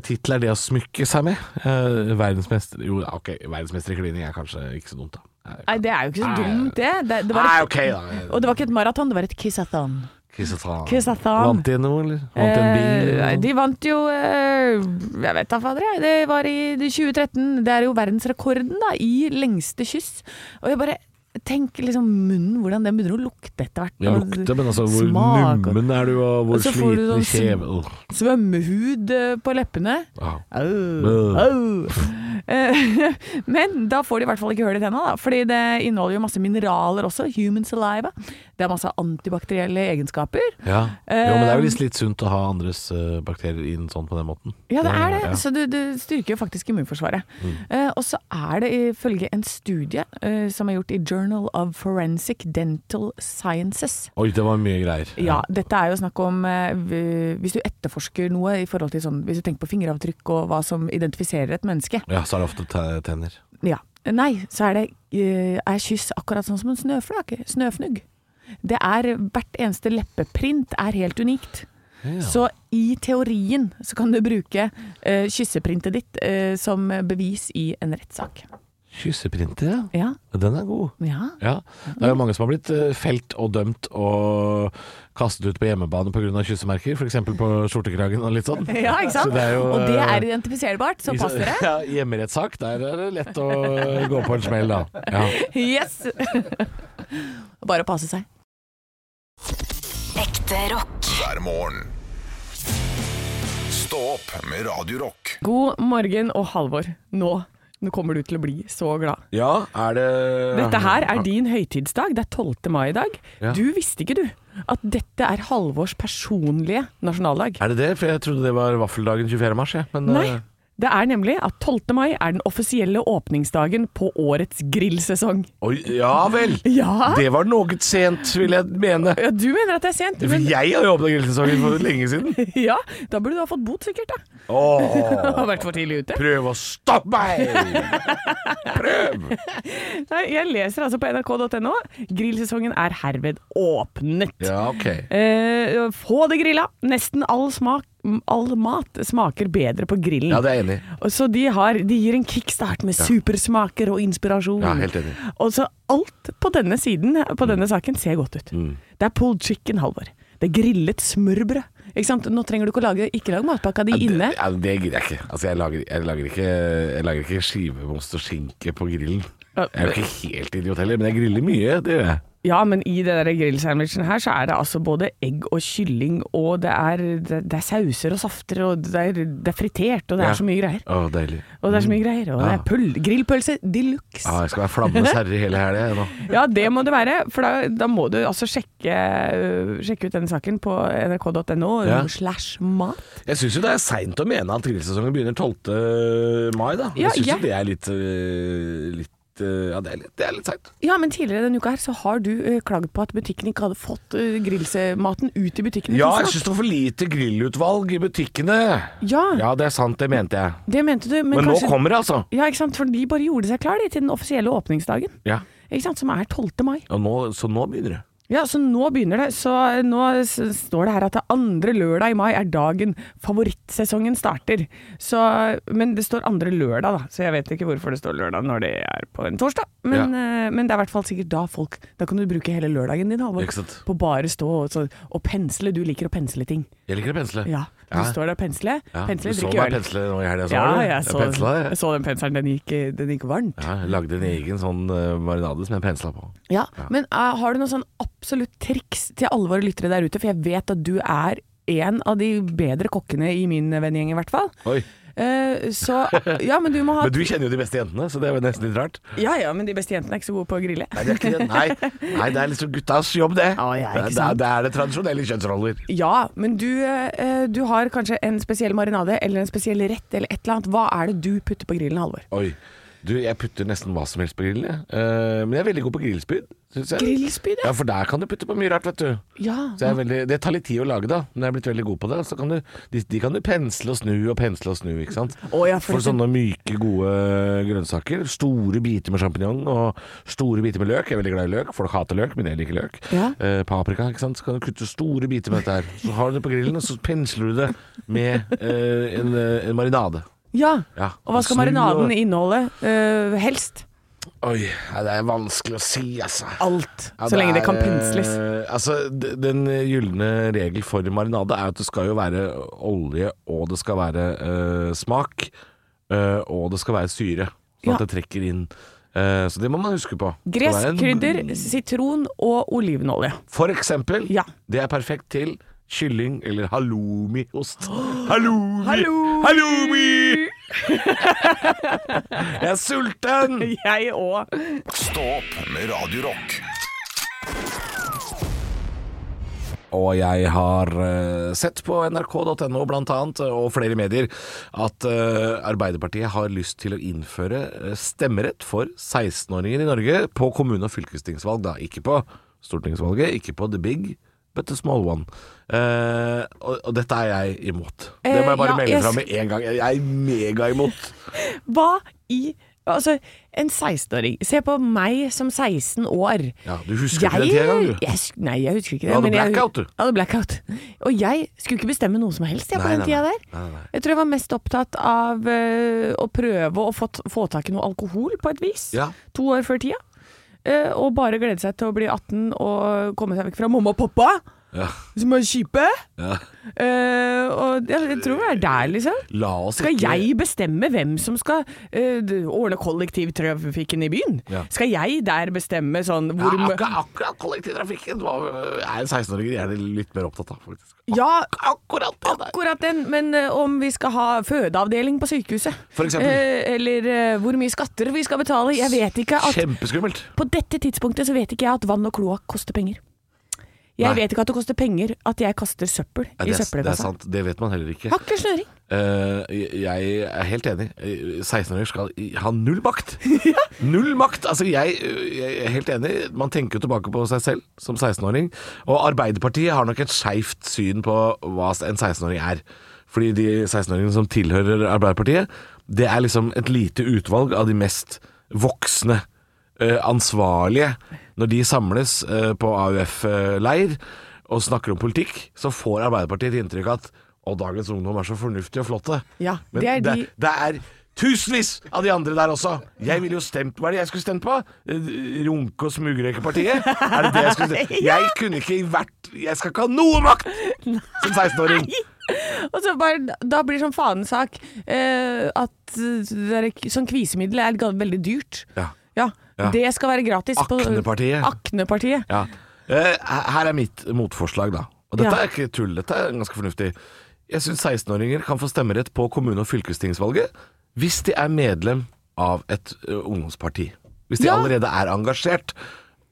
S3: tittel er det å smykke seg med? Eh, verdensmester Jo, ja, ok, verdensmester i klining er kanskje ikke så dumt, da.
S4: Nei, det er jo ikke så
S3: Nei.
S4: dumt, det. det, det var
S3: Nei,
S4: et,
S3: ok, da.
S4: og det var ikke et maraton, det var et kissathon.
S3: Kisathan.
S4: Kisathan.
S3: Vant de noe, eller? Vant de en bil? sånn?
S4: Eh,
S3: eller
S4: nei,
S3: noe?
S4: de vant jo eh, Jeg vet da fader, jeg. Det var i 2013. Det er jo verdensrekorden da, i lengste kyss. Og jeg bare tenker liksom munnen, hvordan den begynner å lukte etter hvert.
S3: Ja,
S4: og
S3: lukter, men altså, hvor
S4: smak, og
S3: nummen er du, og hvor
S4: Og så får du
S3: sliten
S4: sånn sm-
S3: kjeven Åh,
S4: Svømmehud eh, på leppene.
S3: åh. Øh.
S4: Au, au. Eh, Men da får de i hvert fall ikke hull i tenna, da. Fordi det inneholder jo masse mineraler også. Human saliva. Det er masse antibakterielle egenskaper.
S3: Ja. Jo, men det er jo visst litt sunt å ha andres eh, bakterier inn sånn på den måten.
S4: Eh, Ja, det er det.
S3: Ja. Mm.
S4: Så du, du styrker jo faktisk immunforsvaret. Eh, og så er det ifølge en studie eh, som er gjort i Journal of Forensic Dental Sciences.
S3: Oi, det var mye greier.
S4: Ja, dette er jo snakk om eh, v- hvis du etterforsker noe i forhold til sånn Hvis du tenker på fingeravtrykk og hva som identifiserer et menneske.
S3: Ja, så er det ofte te- tenner.
S4: Ja. Nei, så er det eh, er kyss akkurat sånn som en snøflak. Snøfnugg. Det er Hvert eneste leppeprint er helt unikt. Så i teorien så kan du bruke eh, kysseprintet ditt eh, som bevis i en rettssak.
S3: Kysseprinter, ja.
S4: Ja.
S3: Den er god.
S4: ja.
S3: Ja, Det er jo mange som har blitt eh, felt og dømt og kastet ut på hjemmebane pga. kyssemerker, f.eks. på skjortekragen og litt sånn.
S4: Ja, ikke sant?
S3: Så det er jo,
S4: Og det
S3: eh,
S4: er identifiserbart, så
S3: i-
S4: pass dere.
S3: Ja, i Hjemmerettssak, der er det lett å gå på en smell, da. Ja.
S4: Yes! Bare å passe seg.
S7: Ekte rock.
S2: hver morgen. Stå opp med Radio Rock.
S4: God morgen og Halvor. Nå. Nå kommer du til å bli så glad.
S3: ja, er det
S4: Dette her er din høytidsdag. Det er 12. mai i dag.
S3: Ja.
S4: Du visste ikke, du, at dette er Halvors personlige nasjonaldag.
S3: Er det det? For jeg trodde det var vaffeldagen 24. mars, jeg. Men
S4: Nei.
S3: eh,
S4: Det er nemlig at 12. mai er den offisielle åpningsdagen på årets grillsesong.
S3: Oi, ja vel!
S4: Ja,
S3: Det var noe sent, vil jeg mene.
S4: ja du mener at det er sent,
S3: For
S4: men
S3: jeg har jo åpna grillsesongen for lenge siden.
S4: ja, da burde du ha fått bot sikkert, da.
S3: Åh,
S4: Du har vært for tidlig ute.
S3: prøv å stoppe meg! Prøv!
S4: Nei, jeg leser altså på nrk.no. Grillsesongen er herved åpnet.
S3: Ja, ok.
S4: Eh, få det grilla! Nesten all, smak, all mat smaker bedre på grillen.
S3: Ja, det er jeg enig i.
S4: Og Så de, har, de gir en kickstart med supersmaker og inspirasjon.
S3: Ja, helt enig. Mm.
S4: Og så alt på denne siden, på denne saken, ser godt ut. Det er pulled chicken, Halvor. Det er grillet smørbrød. Ikke sant? Nå trenger du ikke å lage Ikke lag matpakka di inne.
S3: Det, ja, det gidder jeg ikke. Altså, jeg lager, jeg lager ikke, jeg lager ikke skiveost og skinke på grillen. Jeg er jo ikke helt idiot heller, men jeg griller mye. Det gjør jeg.
S4: Ja, men i den der grillsandwichen her, så er det altså både egg og kylling, og det er, det, det er sauser og safter, og det er, det er fritert, og det
S3: Ja.
S4: er så mye greier.
S3: Å, deilig.
S4: Og det er så mye greier. Og det
S3: Ja.
S4: er pøl, grillpølse de luxe.
S3: Ja, Ah, jeg skal være flammenes herre hele helga nå.
S4: Ja, det må det være. For da, da må du altså sjekke, øh, sjekke ut denne saken på nrk.no
S3: Ja.
S4: slash mat.
S3: Jeg syns jo det er seint å mene at grillsesongen begynner 12. mai, da.
S4: Ja,
S3: jeg syns
S4: ja.
S3: jo det er litt, øh, litt øh, Ja, det er litt, det er litt seint.
S4: Ja, men tidligere denne uka her så har du øh, klagd på at butikken ikke hadde fått øh, grillsematen ut i butikken.
S3: Ja, jeg syns det var for lite grillutvalg i butikkene.
S4: ja,
S3: Ja, det er sant, det mente jeg.
S4: det mente du. Men,
S3: Men nå
S4: kanskje,
S3: kommer det, altså.
S4: Ja, ikke sant? For de bare gjorde seg klar de, til den offisielle åpningsdagen.
S3: Ja.
S4: Ikke sant? Som er 12. mai.
S3: Og nå, så nå begynner det.
S4: Ja, så nå begynner det. Så eh, nå s- står det her at det andre lørdag i mai er dagen favorittsesongen starter. Så, men det står andre lørdag, da, så jeg vet ikke hvorfor det står lørdag når det er på en torsdag. Men, eh, men det er i hvert fall sikkert da folk Da kan du bruke hele lørdagen din, Halvor.
S3: Ikke sant.
S4: På bare stå og, så, og pensle. Du liker å pensle ting.
S3: Jeg liker å pensle.
S4: Ja. Du
S3: Ja.
S4: står der og pensler.
S3: Ja,
S4: pensler,
S3: du så
S4: drikker
S3: meg
S4: øl.
S3: pensle nå i helga, så
S4: Ja,
S3: du?
S4: jeg så,
S3: pensla,
S4: jeg
S3: jeg.
S4: så den penselen. Den gikk, den gikk varmt.
S3: Ja, jeg lagde en egen sånn eh, marinade som jeg pensla på.
S4: Ja, men eh, har du noe sånn absolutt triks til alvor lyttere der ute? For jeg vet at du er en av de bedre kokkene i min vennegjeng, i hvert fall.
S3: Oi.
S4: Eh, så Ja, men du må ha
S3: Men du kjenner jo de beste jentene, så det er jo nesten litt rart.
S4: Ja ja, men de beste jentene er ikke så gode på å grille.
S3: Nei, det er, ikke det. Nei. Nei, det er liksom guttas jobb, det.
S4: Ja, ja, ikke
S3: det,
S4: sant?
S3: er, det er det tradisjonelle kjønnsroller.
S4: Ja, men du, eh, du har kanskje en spesiell marinade eller en spesiell rett eller et eller annet. Hva er det du putter på grillen, Halvor?
S3: Oi. Du, jeg putter nesten hva som helst på grillen, jeg. Eh, men jeg er veldig god på grillspyd, syns jeg.
S4: Grillspyd, ja.
S3: Ja, for der kan du putte på mye rart, vet du.
S4: Ja.
S3: Så jeg er veldig, det tar litt tid å lage, da, men jeg er blitt veldig god på det. Så kan du, de, de kan du pensle og snu og pensle og snu, ikke sant.
S4: Å, ja, for
S3: for
S4: det-
S3: sånne myke, gode grønnsaker. Store biter med sjampinjong og store biter med løk. Jeg er veldig glad i løk. Folk hater løk, men jeg liker løk.
S4: Ja.
S3: Eh, paprika, ikke sant. Så kan du kutte store biter med dette her. Så har du det på grillen, og så pensler du det med eh, en, eh, en marinade.
S4: ja.
S3: Ja.
S4: Og hva skal
S3: Snu
S4: marinaden
S3: og-
S4: inneholde? Eh, helst
S3: Oi, ja, det er vanskelig å si, altså.
S4: alt,
S3: Ja,
S4: så lenge det kan
S3: er,
S4: pensles.
S3: eh, Altså, d- Den gylne regel for marinade er at det skal jo være olje, og det skal være eh, smak, eh, og det skal være syre. Sånn
S4: Ja.
S3: at det trekker inn. Eh, så det må man huske på. Det skal
S4: Gresk
S3: være en-
S4: krydder, sitron og olivenolje.
S3: For eksempel.
S4: Ja.
S3: Det er perfekt til kylling eller halloumiost. Halloumi!
S4: Halloumi!
S3: halloumi! Jeg er sulten!
S4: Jeg òg.
S2: Stå opp med Radio Rock.
S3: Og jeg har eh, sett på nrk.no blant annet, og flere medier, at eh, Arbeiderpartiet har lyst til å innføre eh, stemmerett for 16-åringer i Norge på kommune- og fylkestingsvalg. Da. Ikke på stortingsvalget, ikke på the big, but the small one. Eh, og, og dette er jeg imot. Det må
S4: Eh,
S3: jeg bare
S4: ja,
S3: melde
S4: jeg
S3: fra
S4: sk-
S3: med en gang. Jeg er mega imot.
S4: Hva i Altså, en 16-åring Se på meg som 16 år.
S3: Ja, du husker ikke den tida engang, du.
S4: jeg sk- Nei, jeg husker ikke det.
S3: Du hadde
S4: men jeg-
S3: blackout, du.
S4: Jeg hadde blackout. Og jeg skulle ikke bestemme noe som helst jeg, på
S3: Nei,
S4: den
S3: nei,
S4: tida
S3: nei.
S4: der.
S3: Nei, nei.
S4: Jeg tror jeg var mest opptatt av eh, å prøve å få, få tak i noe alkohol, på et vis.
S3: Ja.
S4: To år før tida. Eh, og bare glede seg til å bli 18 og komme seg vekk fra mamma og pappa,
S3: Ja,
S4: som er kjipe.
S3: ja.
S4: Eh, og jeg, jeg tror det er der, liksom.
S3: La oss
S4: Skal
S3: ikke
S4: jeg bestemme hvem som skal eh, d- ordne kollektivtrafikken i byen?
S3: Ja.
S4: Skal jeg der bestemme sånn
S3: ja,
S4: hvor mø-
S3: akkurat, akkurat kollektivtrafikken var, er 16-åringer gjerne litt mer opptatt av, faktisk.
S4: Ja,
S3: Akkurat det der.
S4: akkurat den, men eh, om vi skal ha fødeavdeling på sykehuset?
S3: For eksempel.
S4: Eh, eller eh, hvor mye skatter vi skal betale? Jeg vet ikke at
S3: Kjempeskummelt.
S4: På dette tidspunktet så vet ikke jeg at vann og kloakk koster penger. Jeg
S3: Nei.
S4: vet ikke at det koster penger at jeg kaster søppel
S3: Ja, det, er,
S4: i
S3: det er
S4: søppelkassa.
S3: sant, det vet man heller ikke.
S4: Har ikke snøring.
S3: Eh, jeg er helt enig. Eh, 16-åringer skal i- ha null makt. Null makt! Altså, jeg, jeg er helt enig. Man tenker jo tilbake på seg selv som 16-åring. Og Arbeiderpartiet har nok et skeivt syn på hva en 16-åring er. Fordi de 16-åringene som tilhører Arbeiderpartiet, det er liksom et lite utvalg av de mest voksne eh, ansvarlige når de samles eh, på AUF-leir og snakker om politikk, så får Arbeiderpartiet et inntrykk av at å, dagens ungdom er så fornuftige og flotte.
S4: Ja,
S3: Men
S4: det er de-
S3: det, det er tusenvis av de andre der også. Jeg ville jo stemt Hva er det jeg skulle stemt på? Eh, Runke- og smugrøykepartiet? Er det det jeg skulle stemt Jeg kunne ikke vært Jeg skal ikke ha noe makt som 16-åring!
S4: Og så bare, da blir det sånn fanesak eh, at det der, sånn kvisemiddel er ga- veldig dyrt.
S3: Ja. Ja.
S4: ja. Det skal være gratis. på-
S3: Aknepartiet.
S4: Aknepartiet.
S3: Ja. Eh, Her er mitt motforslag, da. Og dette
S4: Ja.
S3: er ikke tull, dette er ganske fornuftig. Jeg syns 16-åringer kan få stemmerett på kommune- og fylkestingsvalget hvis de er medlem av et ø, ungdomsparti. Hvis de
S4: Ja.
S3: allerede er engasjert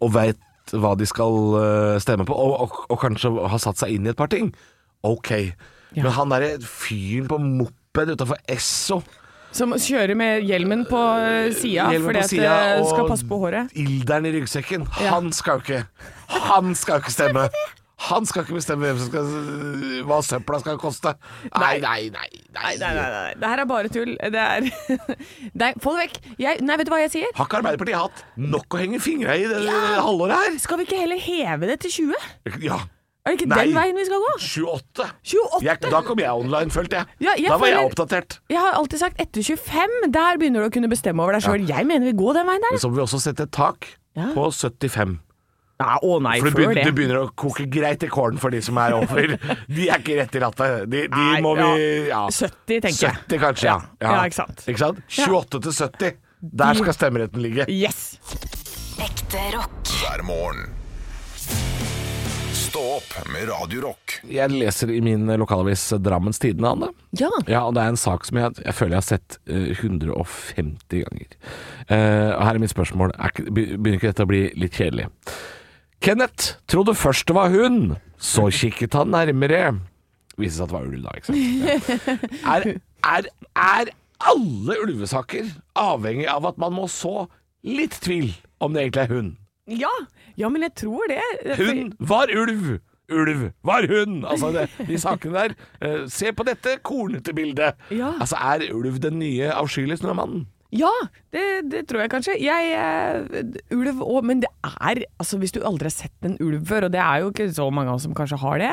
S3: og veit hva de skal ø, stemme på, og, og, og kanskje har satt seg inn i et par ting. Ok.
S4: Ja.
S3: Men han derre fyren på moped utafor Esso
S4: Som kjører med hjelmen på eh, sida
S3: Hjelmen på
S4: fordi at
S3: sida,
S4: det
S3: og
S4: skal passe på håret.
S3: Ilderen i ryggsekken.
S4: Ja.
S3: Han skal jo ikke Han skal jo ikke stemme. Han skal ikke bestemme hvem som skal, hva søpla skal koste. Nei, nei, nei. nei.
S4: Nei, nei, nei. Det her er bare tull. Det er Nei, få det vekk. Jeg, nei, vet du hva jeg sier?
S3: Har ikke Arbeiderpartiet hatt nok å henge fingra i det halvåret
S4: Skal vi ikke heller heve det til 20?
S3: her? Ja.
S4: Er det ikke
S3: Nei.
S4: den veien vi skal gå?
S3: 28.
S4: 28?
S3: Jeg, da kom jeg online, følte jeg.
S4: Ja, jeg
S3: da var jeg
S4: føler-
S3: oppdatert.
S4: Jeg har alltid sagt etter 25. Der begynner du å kunne bestemme over deg sjøl. Jeg mener vi går den veien der.
S3: Men så må vi også sette et tak
S4: Ja.
S3: på 75.
S4: Nei, å nei,
S3: For det
S4: før
S3: begynner,
S4: det.
S3: det begynner å koke greit i kålen for de som er over. De er ikke rett i rattet. De, de
S4: Nei,
S3: må vi ja.
S4: ja. 70, tenker jeg.
S3: 70 kanskje, ja.
S4: Ja, ja, ikke sant.
S3: 28 til 70. Der skal stemmeretten ligge.
S4: Yes!
S7: Ekte rock.
S2: hver morgen. Stå opp med Radio Rock.
S3: Jeg leser i min lokalavis Drammens Tidende, Anne.
S4: Ja.
S3: Ja, og det er en sak som jeg, jeg føler jeg har sett eh, 150 ganger. Eh, og her er mitt spørsmål. Er ikke, be- begynner ikke dette å bli litt kjedelig? Kenneth trodde først det var hun, så kikket han nærmere. Viste seg at det var ulv, da. Ikke sant? Ja. Er, er, er alle ulvesaker avhengig av at man må så litt tvil om det egentlig er hun.
S4: Ja, ja, men jeg tror det.
S3: Hun var ulv! Ulv var hun! Altså, det, de sakene der. eh, se på dette kornete bildet.
S4: Ja.
S3: Altså, er ulv den nye avskyelige snømannen?
S4: Ja, det, det tror jeg kanskje. Jeg, eh, ulv òg, men det er altså Hvis du aldri har sett en ulv før, og det er jo ikke så mange av oss som kanskje har det,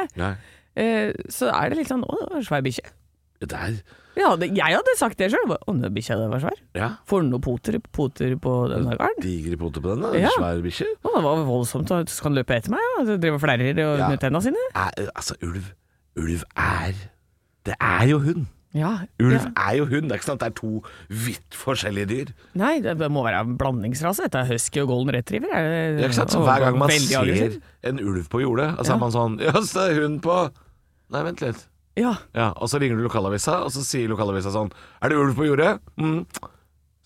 S4: eh, så er det litt sånn 'Å, det var en svær bikkje'.
S3: Det er
S4: Ja, det- jeg hadde sagt det sjøl. 'Å, den bikkja der var svær'.
S3: ja.
S4: Får du noen poter, poter på denne garden?
S3: digre poter på den. da.
S4: Ja.
S3: Svær bikkje.
S4: Å, det var voldsomt, og skal han løpe etter meg? Ja? Driver og flerrer og
S3: Ja.
S4: med tenna sine?
S3: Er- Altså, ulv Ulv er Det er jo hun.
S4: Ja.
S3: Ulv
S4: ja.
S3: er jo hun. Det er ikke sant det er to vidt forskjellige dyr.
S4: Nei, det må være en blandingsrase. Dette er husky og golden retriever. Er det,
S3: Ja, ikke sant? Så
S4: og-
S3: hver gang man
S4: veldig
S3: ser
S4: aggressiv.
S3: en ulv på jordet, og så
S4: Ja.
S3: er man sånn Jøss, det er hun på Nei, vent litt.
S4: Ja.
S3: Ja, Og så ringer du lokalavisa, og så sier lokalavisa sånn Er det ulv på jordet? Mm.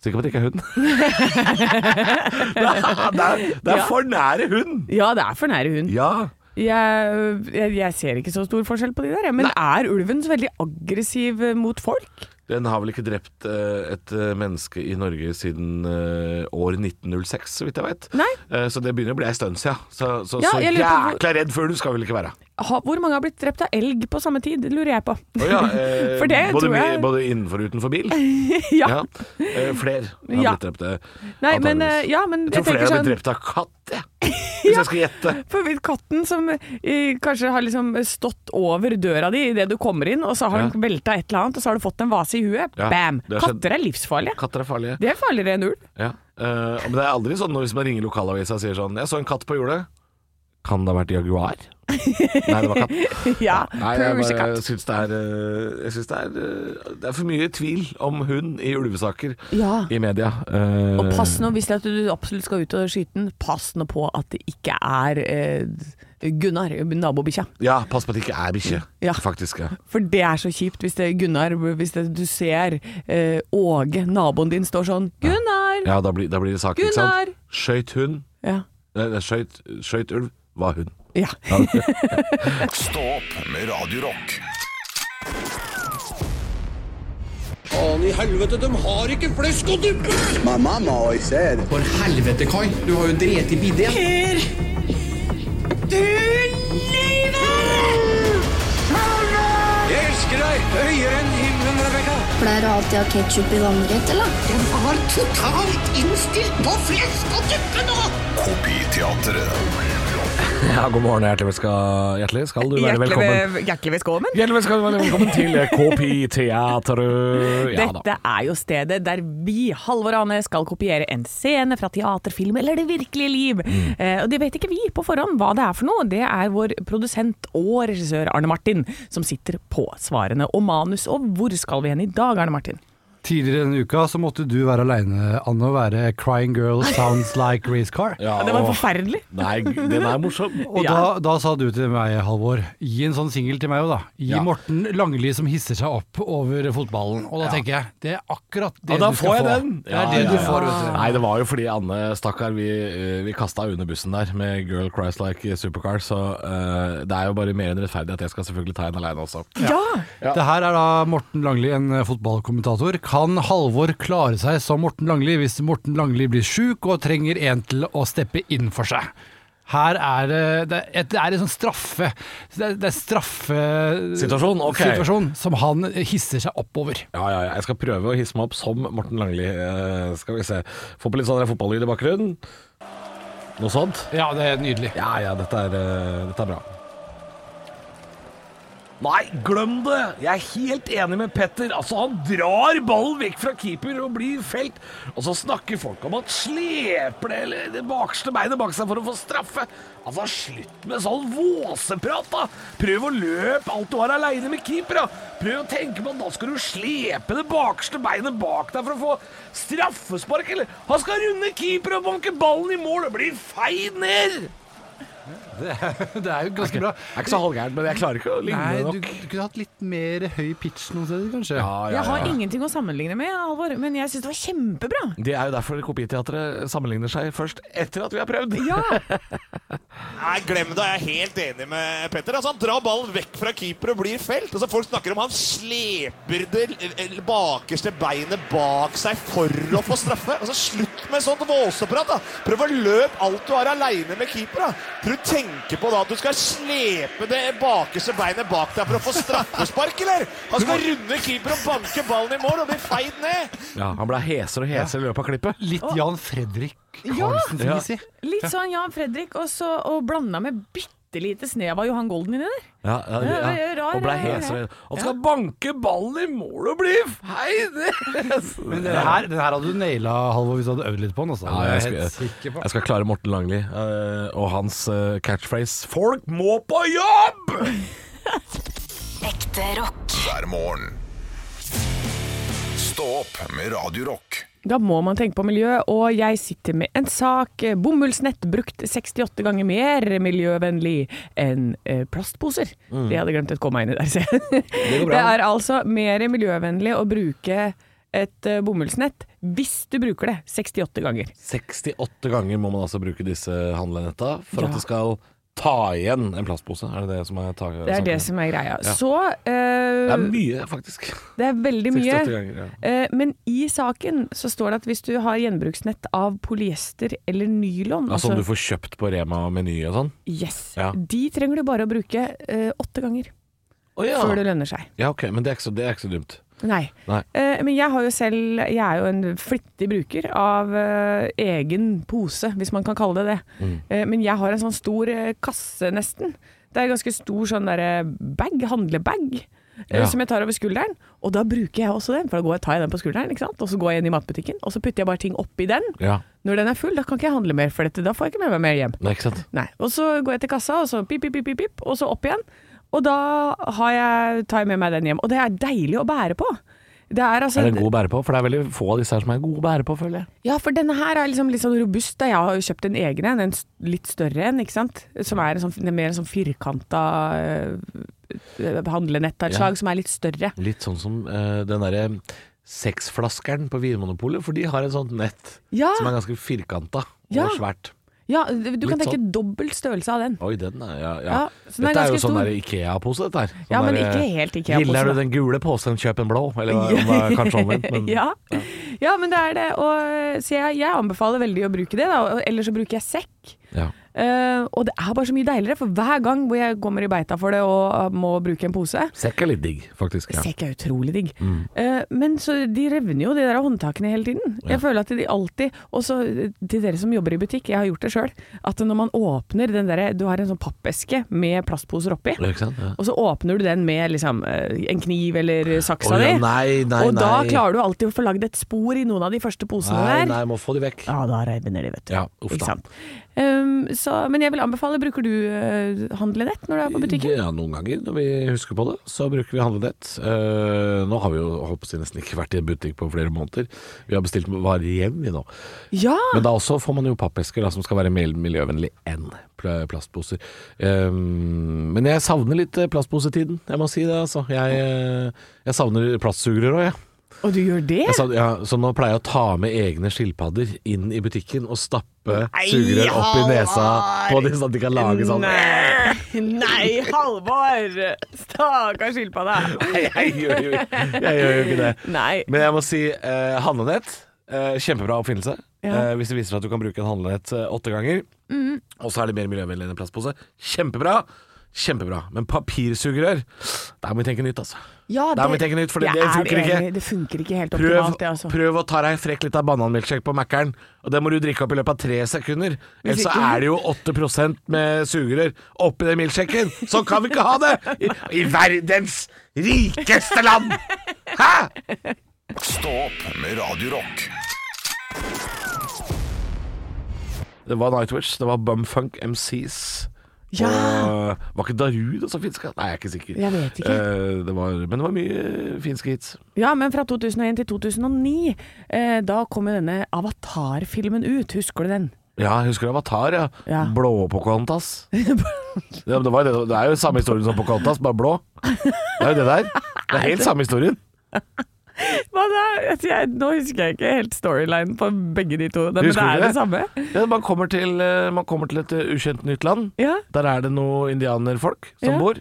S3: Sikker på at det ikke er hun. det er, det er, det er
S4: Ja.
S3: for nære hun!
S4: ja, det er for nære hund.
S3: Ja.
S4: Jeg, jeg, jeg ser ikke så stor forskjell på de der, jeg. men er ulven så veldig aggressiv eh, mot folk?
S3: Den har vel ikke drept eh, et eh, menneske i Norge siden eh, år 1906, så vidt jeg veit.
S4: Nei.
S3: så det begynner å bli ei stund sia. Så, så,
S4: Ja,
S3: så
S4: jeg lurer på hvor-
S3: jækla redd for ulv skal vi vel ikke være.
S4: Ha, hvor mange har blitt drept av elg på samme tid, det lurer jeg på.
S3: Å ja, eh,
S4: For det
S3: både,
S4: tror jeg
S3: bi- både innenfor og utenfor bil?
S4: ja.
S3: Ja. Eh, Fler har
S4: Ja.
S3: blitt drept. eh,
S4: Nei, men,
S3: antageligvis.
S4: eh, ja, men
S3: jeg
S4: jeg
S3: tror flere
S4: tenker
S3: har
S4: sånn
S3: blitt drept av katt, jeg. Hvis jeg skal gjette.
S4: For vidt katten som eh, kanskje har liksom stått over døra di idet du kommer inn, og så har
S3: Ja.
S4: den velta et eller annet, og så har du fått en vase i huet.
S3: Ja,
S4: Bam!
S3: det har skjedd.
S4: Katter er livsfarlige.
S3: Katter er farlige.
S4: Det er farligere enn ulv.
S3: Ja. Eh, men det er aldri sånn når hvis man ringer lokalavisa og sier sånn 'Jeg så en katt på jordet'. Kan det ha vært jaguar? Nei, det var katt.
S4: Ja,
S3: Nei, jeg
S4: pølsekatt.
S3: bare syns det er eh, Jeg synes det er eh, Det er for mye tvil om hun i ulvesaker
S4: Ja.
S3: i media. Eh,
S4: Og pass nå, hvis det er at du absolutt skal ut og skyte den, pass nå på at det ikke er eh, Gunnar, nabobikkja.
S3: Ja, pass på at det ikke er bikkje,
S4: Ja.
S3: faktisk. Ja.
S4: For det er så kjipt hvis det er Gunnar, hvis det, du ser eh, Åge, naboen din, står sånn 'Gunnar!'
S3: ja, da blir, da blir det sak, ikke
S4: Gunnar!
S3: sant? Skøyt hun
S4: Ja.
S3: Nei, det er skøyt, skøyt ulv var hun.
S4: ja.
S2: Stå opp med Radio Rock.
S8: My mama always said,
S9: For helvete, Kai. Du har jo drept i bidé.
S10: Pleier du alltid å ha ketsjup i vannrett, eller?
S2: Kopiteatret.
S3: Ja, god morgen, hjertelig skal, hjertelig skal du være
S4: Hjertelig
S3: velkommen.
S4: ved- Hjertelig velkommen.
S3: Hjertelig skal du være velkommen til Kopiteatret. Ja da.
S4: Dette er jo stedet der vi, Halvor Ane, skal kopiere en scene fra teater, film eller det virkelige liv.
S3: Mm.
S4: Eh, og det vet ikke vi på forhånd hva det er for noe. Det er vår produsent og regissør Arne Martin som sitter på svarene og manus. Og hvor skal vi hen i dag, Arne Martin?
S11: Tidligere denne uka så måtte du være aleine, Anne, og være 'Crying Girl Sounds Like Race Car'.
S3: Ja,
S4: Det var
S3: og-
S4: forferdelig.
S3: Nei, den er morsom.
S11: Og
S4: Ja.
S11: da, da sa du til meg, Halvor, gi en sånn singel til meg òg, da. Gi
S3: Ja.
S11: Morten Langli som hisser seg opp over fotballen. Og da tenker jeg, det er akkurat det
S3: Og da
S11: du
S3: får
S11: skal
S3: jeg
S11: få.
S3: den!
S11: Det er det
S3: Ja, ja,
S11: du
S3: ja.
S11: får, vet du.
S3: Nei, det var jo fordi Anne, stakkar, vi, eh, vi kasta under bussen der med Girl Cries Like Supercar, så eh, det er jo bare mer enn rettferdig at jeg skal selvfølgelig ta en aleine også.
S4: Ja!
S11: Det her er da Morten Langli, en eh, fotballkommentator. Kan Halvor klare seg som Morten Langli hvis Morten Langli blir sjuk og trenger en til å steppe inn for seg? Her er det Det er, et- det er en sånn straffe Det er, det er straffe...
S3: Situasjon, ok.
S11: situasjon som han hisser seg oppover.
S3: Ja, ja, ja. Jeg skal prøve å hisse meg opp som Morten Langli. Eh, skal vi se. Få på litt sånn der fotballyd i bakgrunnen. Noe sånt.
S11: Ja, det er nydelig.
S3: Ja, ja, dette er, eh, dette er bra. Nei, glem det! Jeg er helt enig med Petter. Altså, Han drar ballen vekk fra keeper og blir felt. Og så snakker folk om at sleper det eller det bakerste beinet bak seg for å få straffe. Altså, Slutt med sånn våseprat, da! Prøv å løpe alt du har aleine med keeper, da! Prøv å tenke på at da skal du slepe det bakerste beinet bak deg for å få straffespark, eller Han skal runde keeper og banke ballen i mål og bli feid ned!
S11: Det, det er jo ganske bra.
S3: Det er ikke så halvgærent, men jeg klarer ikke å ligne
S11: Nei, du
S3: nok.
S11: kunne hatt litt mer høy pitch noen steder, kanskje.
S4: Jeg har ingenting å sammenligne med, Halvor, men jeg syns det var kjempebra.
S3: Det er jo derfor kopiteatret sammenligner seg først etter at vi har prøvd.
S4: Ja,
S8: Nei, glem det. Jeg er helt enig med Petter. Altså, han drar ballen vekk fra keeper og blir felt. Altså, folk snakker om han sleper det l- l- bakerste beinet bak seg for å få straffe. Altså, slutt med sånt våseprat. da. Prøv å løpe alt du har aleine med keeper. da. Tror du tenker på da at du skal slepe det bakerste beinet bak deg for å få straffespark, eller? Han skal runde keeper og banke ballen i mål og bli feid ned.
S3: Ja, han ble hesere og hesere i løpet av klippet.
S11: Litt Jan Fredrik Karlsen-fisi.
S4: litt sånn Jan Fredrik, og, så, og blanda med bitte lite snev av Johan Golden inni der.
S3: Ja, ja,
S4: Ja,
S3: ja.
S4: det er rar,
S3: Og ble
S4: rar,
S3: hesere.
S4: rar.
S3: Han skal banke ballen i mål og bli feid!
S11: Men den her, den her hadde du naila, Halvor, hvis du hadde øvd litt på den. Altså.
S3: Ja,
S11: Det er
S3: jeg,
S11: helt
S3: skal,
S11: sikker på.
S3: jeg skal klare Morten Langli eh, og hans eh, catchphrase 'Folk må på jobb!'
S7: Ekte rock.
S2: hver morgen. Stå opp med Radio Rock.
S4: Da må man tenke på miljø, og jeg sitter med en sak. Bomullsnett brukt 68 ganger mer miljøvennlig enn eh, plastposer. Det hadde jeg glemt et komma inni der, ser jeg. Det,
S3: Mm. går bra.
S4: er altså mer miljøvennlig å bruke et eh, bomullsnett hvis du bruker det 68 ganger.
S3: 68 ganger må man altså bruke disse handlenetta for
S4: Ja.
S3: at det skal ta igjen en plastpose. Er det det som er ta
S4: Det er det som er greia. Så eh,
S3: Det er mye, faktisk.
S4: det er veldig mye.
S3: 68 ganger, ja.
S4: Eh, Men i saken så står det at hvis du har gjenbruksnett av polyester eller nylon
S3: Ja,
S4: altså
S3: Sånn du får kjøpt på Rema og Meny og sånn?
S4: Yes.
S3: Ja.
S4: De trenger du bare å bruke eh, åtte ganger
S3: ja.
S4: før det lønner seg.
S3: ja, ok, men det er ikke så, det er ikke så dumt.
S4: Nei.
S3: Nei.
S4: Eh, men jeg har jo selv Jeg er jo en flittig bruker av eh, egen pose, hvis man kan kalle det det.
S3: Mm.
S4: Eh, men jeg har en sånn stor eh, kasse, nesten. Det er en ganske stor sånn derre bag, handlebag. eh,
S3: Ja.
S4: Som jeg tar over skulderen, og da bruker jeg også den. For da går jeg, tar jeg den på skulderen, ikke sant? og så går jeg inn i matbutikken og så putter jeg bare ting oppi den.
S3: Ja,
S4: Når den er full, da kan ikke jeg handle mer, for dette, da får jeg ikke med meg mer hjem.
S3: Nei, ikke sant?
S4: Nei. Og så går jeg til kassa, og så pip, pip, pip, pip, pip og så opp igjen. Og da har jeg, tar jeg med meg den hjem. Og det er deilig å bære på. Det er altså
S3: Er det en god å bære på? For det er veldig få av disse her som er gode å bære på, føler jeg.
S4: Ja, for denne her er liksom litt sånn robust. Da. Jeg har jo kjøpt en egen en, en s- litt større en, ikke sant. Som er en sånn, den er mer en sånn firkanta øh, handlenett av et
S3: Ja.
S4: slag, som er litt større.
S3: Litt sånn som eh, den derre sexflaskeren på Vinmonopolet, for de har et sånt nett
S4: Ja.
S3: som er ganske firkanta
S4: Ja.
S3: og svært.
S4: Ja, du du kan
S3: Litt sånn.
S4: tenke dobbelt størrelse av den.
S3: Oi, den er Ja. ja.
S4: Ja, så den er
S3: dette er, jo
S4: ganske
S3: sånn
S4: stor.
S3: der Ikea-pose, dette her. Sånn
S4: Ja, men
S3: der,
S4: ikke helt Ikea-pose,
S3: Gilder du
S4: da.
S3: den gule posen, kjøp en blå. Eller hva- hva- kanskje omvendt. Men
S4: ja. ja, men det er det. Og, eh, så jeg, jeg anbefaler veldig å bruke det, da. og- Eller så bruker jeg sekk.
S3: Ja.
S4: Eh, og det er bare så mye deiligere, for hver gang hvor jeg kommer i beita for det og eh, må bruke en pose,
S3: Sekk er litt digg, faktisk. Ja. Mm.
S4: sekk er utrolig digg. Eh, men så de revner jo de der håndtakene hele tiden. Jeg føler at de alltid, og så eh, til dere som jobber i butikk, jeg har gjort det sjøl, at når man åpner den derre Du har en sånn pappeske med plastposer oppi.
S3: Ikke sant? Ja.
S4: Og så åpner du den med liksom, eh, en kniv eller saksa
S3: Å, ja,
S4: di.
S3: nei, nei,
S4: og da
S3: nei.
S4: klarer du alltid å få lagd et spor i noen av de første posene
S3: Nei,
S4: der.
S3: nei, må få de vekk.
S4: Ja, da revner de, vet du.
S3: Ja, uff da.
S4: Ikke sant? Um, så, men jeg vil anbefale, bruker du uh, handlenett når du er på butikken?
S3: Ja, noen ganger når vi husker på det, så bruker vi handlenett. Eh, nå har vi jo holdt på å si nesten ikke vært i en butikk på flere måneder. Vi har bestilt varer hjem, vi nå.
S4: Ja!
S3: Men da også får man jo pappesker da, som skal være mer miljøvennlig enn pl- plastposer. Ehm, men jeg savner litt eh, plastposetiden, jeg må si det. Altså. Jeg, eh, jeg savner plastsugerør òg, jeg.
S4: Og du gjør det?
S3: jeg savner, ja, så nå pleier jeg å ta med egne skilpadder inn i butikken og stappe
S4: Nei,
S3: sugerør opp i nesa på
S4: Halvard!
S3: dem, sånn at de kan lage sånn.
S4: Nei, nei Halvor! Stakkars skilpadde.
S3: Nei, jeg gjør jo jeg gjør jo ikke det.
S4: Nei.
S3: Men jeg må si eh, handlenett. Eh, kjempebra oppfinnelse. Eh, hvis det viser seg at du kan bruke en handlenett eh, åtte ganger,
S4: Mhm.
S3: og så er det mer miljøvennlig enn en plastpose. Kjempebra! Kjempebra. Men papirsugerør, der må vi tenke nytt, altså.
S4: Ja,
S3: Der må vi tenke nytt, for det-
S4: Jeg
S3: det
S4: er
S3: funker ikke.
S4: enig, Det funker ikke helt
S3: Prøv,
S4: optimalt, det, altså.
S3: prøv å ta deg en frekk lita bananmilkshake på Mækkern, og det må du drikke opp i løpet av tre sekunder. Ellers så
S4: ikke-
S3: er det jo 8 med sugerør oppi den milkshaken. Sånn kan vi ikke ha det! I, i verdens rikeste land! Hæ?!
S2: Stå opp med Radio Rock.
S3: Det var Nightwish, det var Bumfunk MCs.
S4: Ja.
S3: Og var ikke Darude som finske? Nei, jeg er ikke sikker.
S4: Jeg vet ikke.
S3: Eh, det var, men det var mye finske hits.
S4: Ja, men fra 2001 til 2009, eh, da kom jo denne Avatar-filmen ut. Husker du den?
S3: Ja, jeg husker Avatar, ja.
S4: Ja.
S3: Blå Pocahontas. Ja, men det, var, jo det, det er jo samme historien som Pocahontas, bare blå. Det er jo det der. Det er helt samme historien.
S4: Hva da? Jeg, nå husker jeg ikke helt storylinen på begge de to, men det
S3: Husker du
S4: er det
S3: det?
S4: samme.
S3: Ja, man, kommer til, eh, man kommer til et eh, ukjent nytt land.
S4: Ja.
S3: Der er det noen indianerfolk som
S4: Ja.
S3: bor.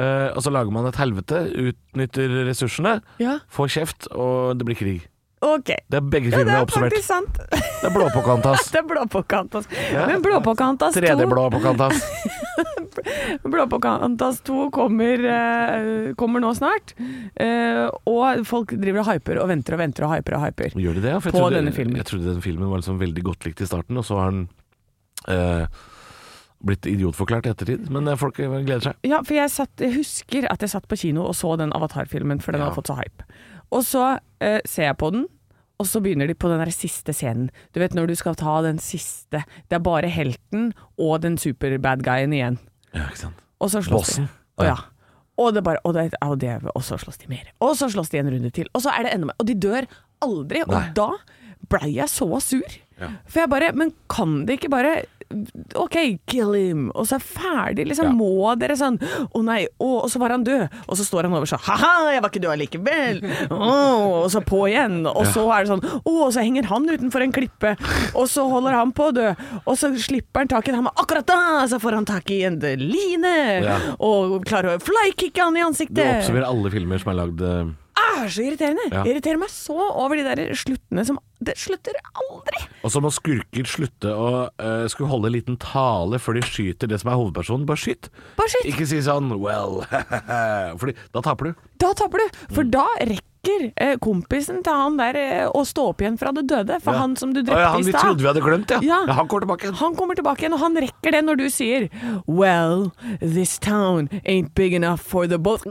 S3: Eh, og så lager man et helvete, utnytter ressursene,
S4: Ja.
S3: får kjeft, og det blir krig.
S4: Ok.
S3: Det er begge
S4: Ja, det
S3: filmene
S4: er
S3: oppsummert.
S4: faktisk sant.
S3: Det er Blåpåkantas.
S4: Det er Blåpåkantas.
S3: Ja.
S4: Men Blåpåkantas 2,
S3: Tredjeblå på kantas.
S4: Blåpåkantas 2 kommer, eh, kommer nå snart. Eh, og folk driver og hyper og venter og venter og hyper og hyper.
S3: Gjør de det? ja? For jeg
S4: På
S3: trodde,
S4: denne filmen.
S3: Jeg trodde den filmen var liksom veldig godt likt i starten, og så har den eh, blitt idiotforklart i ettertid. Men eh, folk gleder seg.
S4: Ja, for jeg, satt, jeg husker at jeg satt på kino og så den Avatar-filmen, for den
S3: Ja.
S4: hadde fått så hype. Og så eh, ser jeg på den, og så begynner de på den der siste scenen. Du vet når du skal ta den siste Det er bare helten og den superbad guyen igjen.
S3: Ja, ikke sant?
S4: Og så slåss
S3: Bossen.
S4: de. Og, ja. og, det bare, og, det, og, det, og så slåss de mer. Og så slåss de en runde til. Og så er det enda mer. Og de dør aldri. Og
S3: Nei.
S4: da blei jeg så sur. For jeg bare Men kan de ikke bare OK, kill him, og så er ferdig, liksom.
S3: Ja.
S4: Må dere sånn Å nei, å, og så var han død. Og så står han over sånn Ha-ha, jeg var ikke død allikevel. Å, og så på igjen. Og så er det sånn Å, og så henger han utenfor en klippe. Og så holder han på å dø. Og så slipper han tak i en hammer. Akkurat da så får han tak i en line.
S3: Ja.
S4: Og klarer å flykicke han i
S3: Du
S4: ansiktet.
S3: oppsummerer alle filmer som er lagd eh,
S4: Ah, så irriterende.
S3: Ja.
S4: Det irriterer meg så over de der sluttene som Det slutter aldri.
S3: Og så må skurker slutte å eh, skulle holde en liten tale før de skyter det som er hovedpersonen. Bare skyt.
S4: Bare skyt.
S3: Ikke si sånn well Fordi da taper du.
S4: Da taper du, for
S3: Mm.
S4: da rekker eh, kompisen til han der eh, å stå opp igjen fra det døde. For han som du
S3: Å,
S4: drepte
S3: ja, han
S4: i
S3: vi
S4: stad.
S3: trodde vi hadde glemt, ja.
S4: Ja.
S3: ja han går tilbake. igjen.
S4: Han kommer tilbake igjen, og han rekker det når du sier Well, this town ain't big enough for the both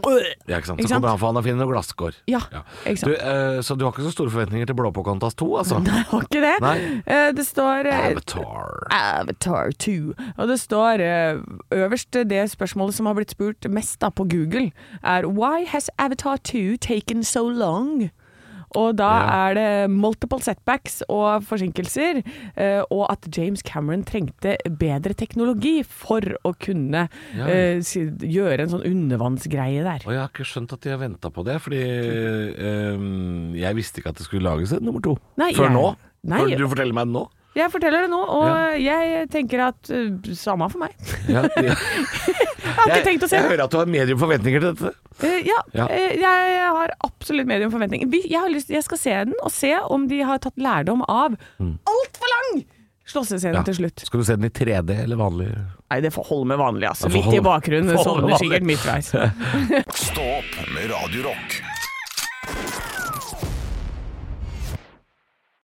S3: Ja, ikke sant? Så kommer han for han og finner noen glasskår.
S4: Ja, ikke sant.
S3: Du, eh, så du har ikke så store forventninger til Blåpåkantas 2, altså?
S4: Nei, har ikke det.
S3: Nei.
S4: Eh, det står eh,
S3: Avatar.
S4: Avatar 2. Og det står eh, øverst det spørsmålet som har blitt spurt mest da på Google, er Why has Avatar 2 taken so long? Og da
S3: Ja.
S4: er det multiple setbacks og forsinkelser, eh, og at James Cameron trengte bedre teknologi for å kunne
S3: Ja.
S4: eh, si, gjøre en sånn undervannsgreie der.
S3: Og jeg har ikke skjønt at de har venta på det, fordi eh, jeg visste ikke at det skulle lages en nummer to.
S4: Nei,
S3: Før
S4: jeg-
S3: nå.
S4: Nei.
S3: Før du forteller meg det nå.
S4: Jeg forteller det nå, og jeg tenker at eh, samme for meg.
S3: Ja, ja.
S4: Jeg har ikke tenkt å se
S3: jeg,
S4: det.
S3: jeg hører at du har medium forventninger til dette.
S4: Eh, ja,
S3: Ja.
S4: eh, jeg har absolutt medium forventning. Vi- Jeg, har lyst, jeg skal se den og se om de har tatt lærdom av altfor lang slåssescene
S3: Mm. Ja.
S4: til slutt.
S3: Skal du se den i 3D eller vanlig?
S4: Nei, det får holde med vanlig, altså.
S3: Det får
S4: Litt i
S3: holde-
S4: bakgrunnen.
S3: får
S4: Sånn
S3: holde
S4: det
S3: med
S4: sikkert midtveis.
S2: Stå opp med Radio Rock.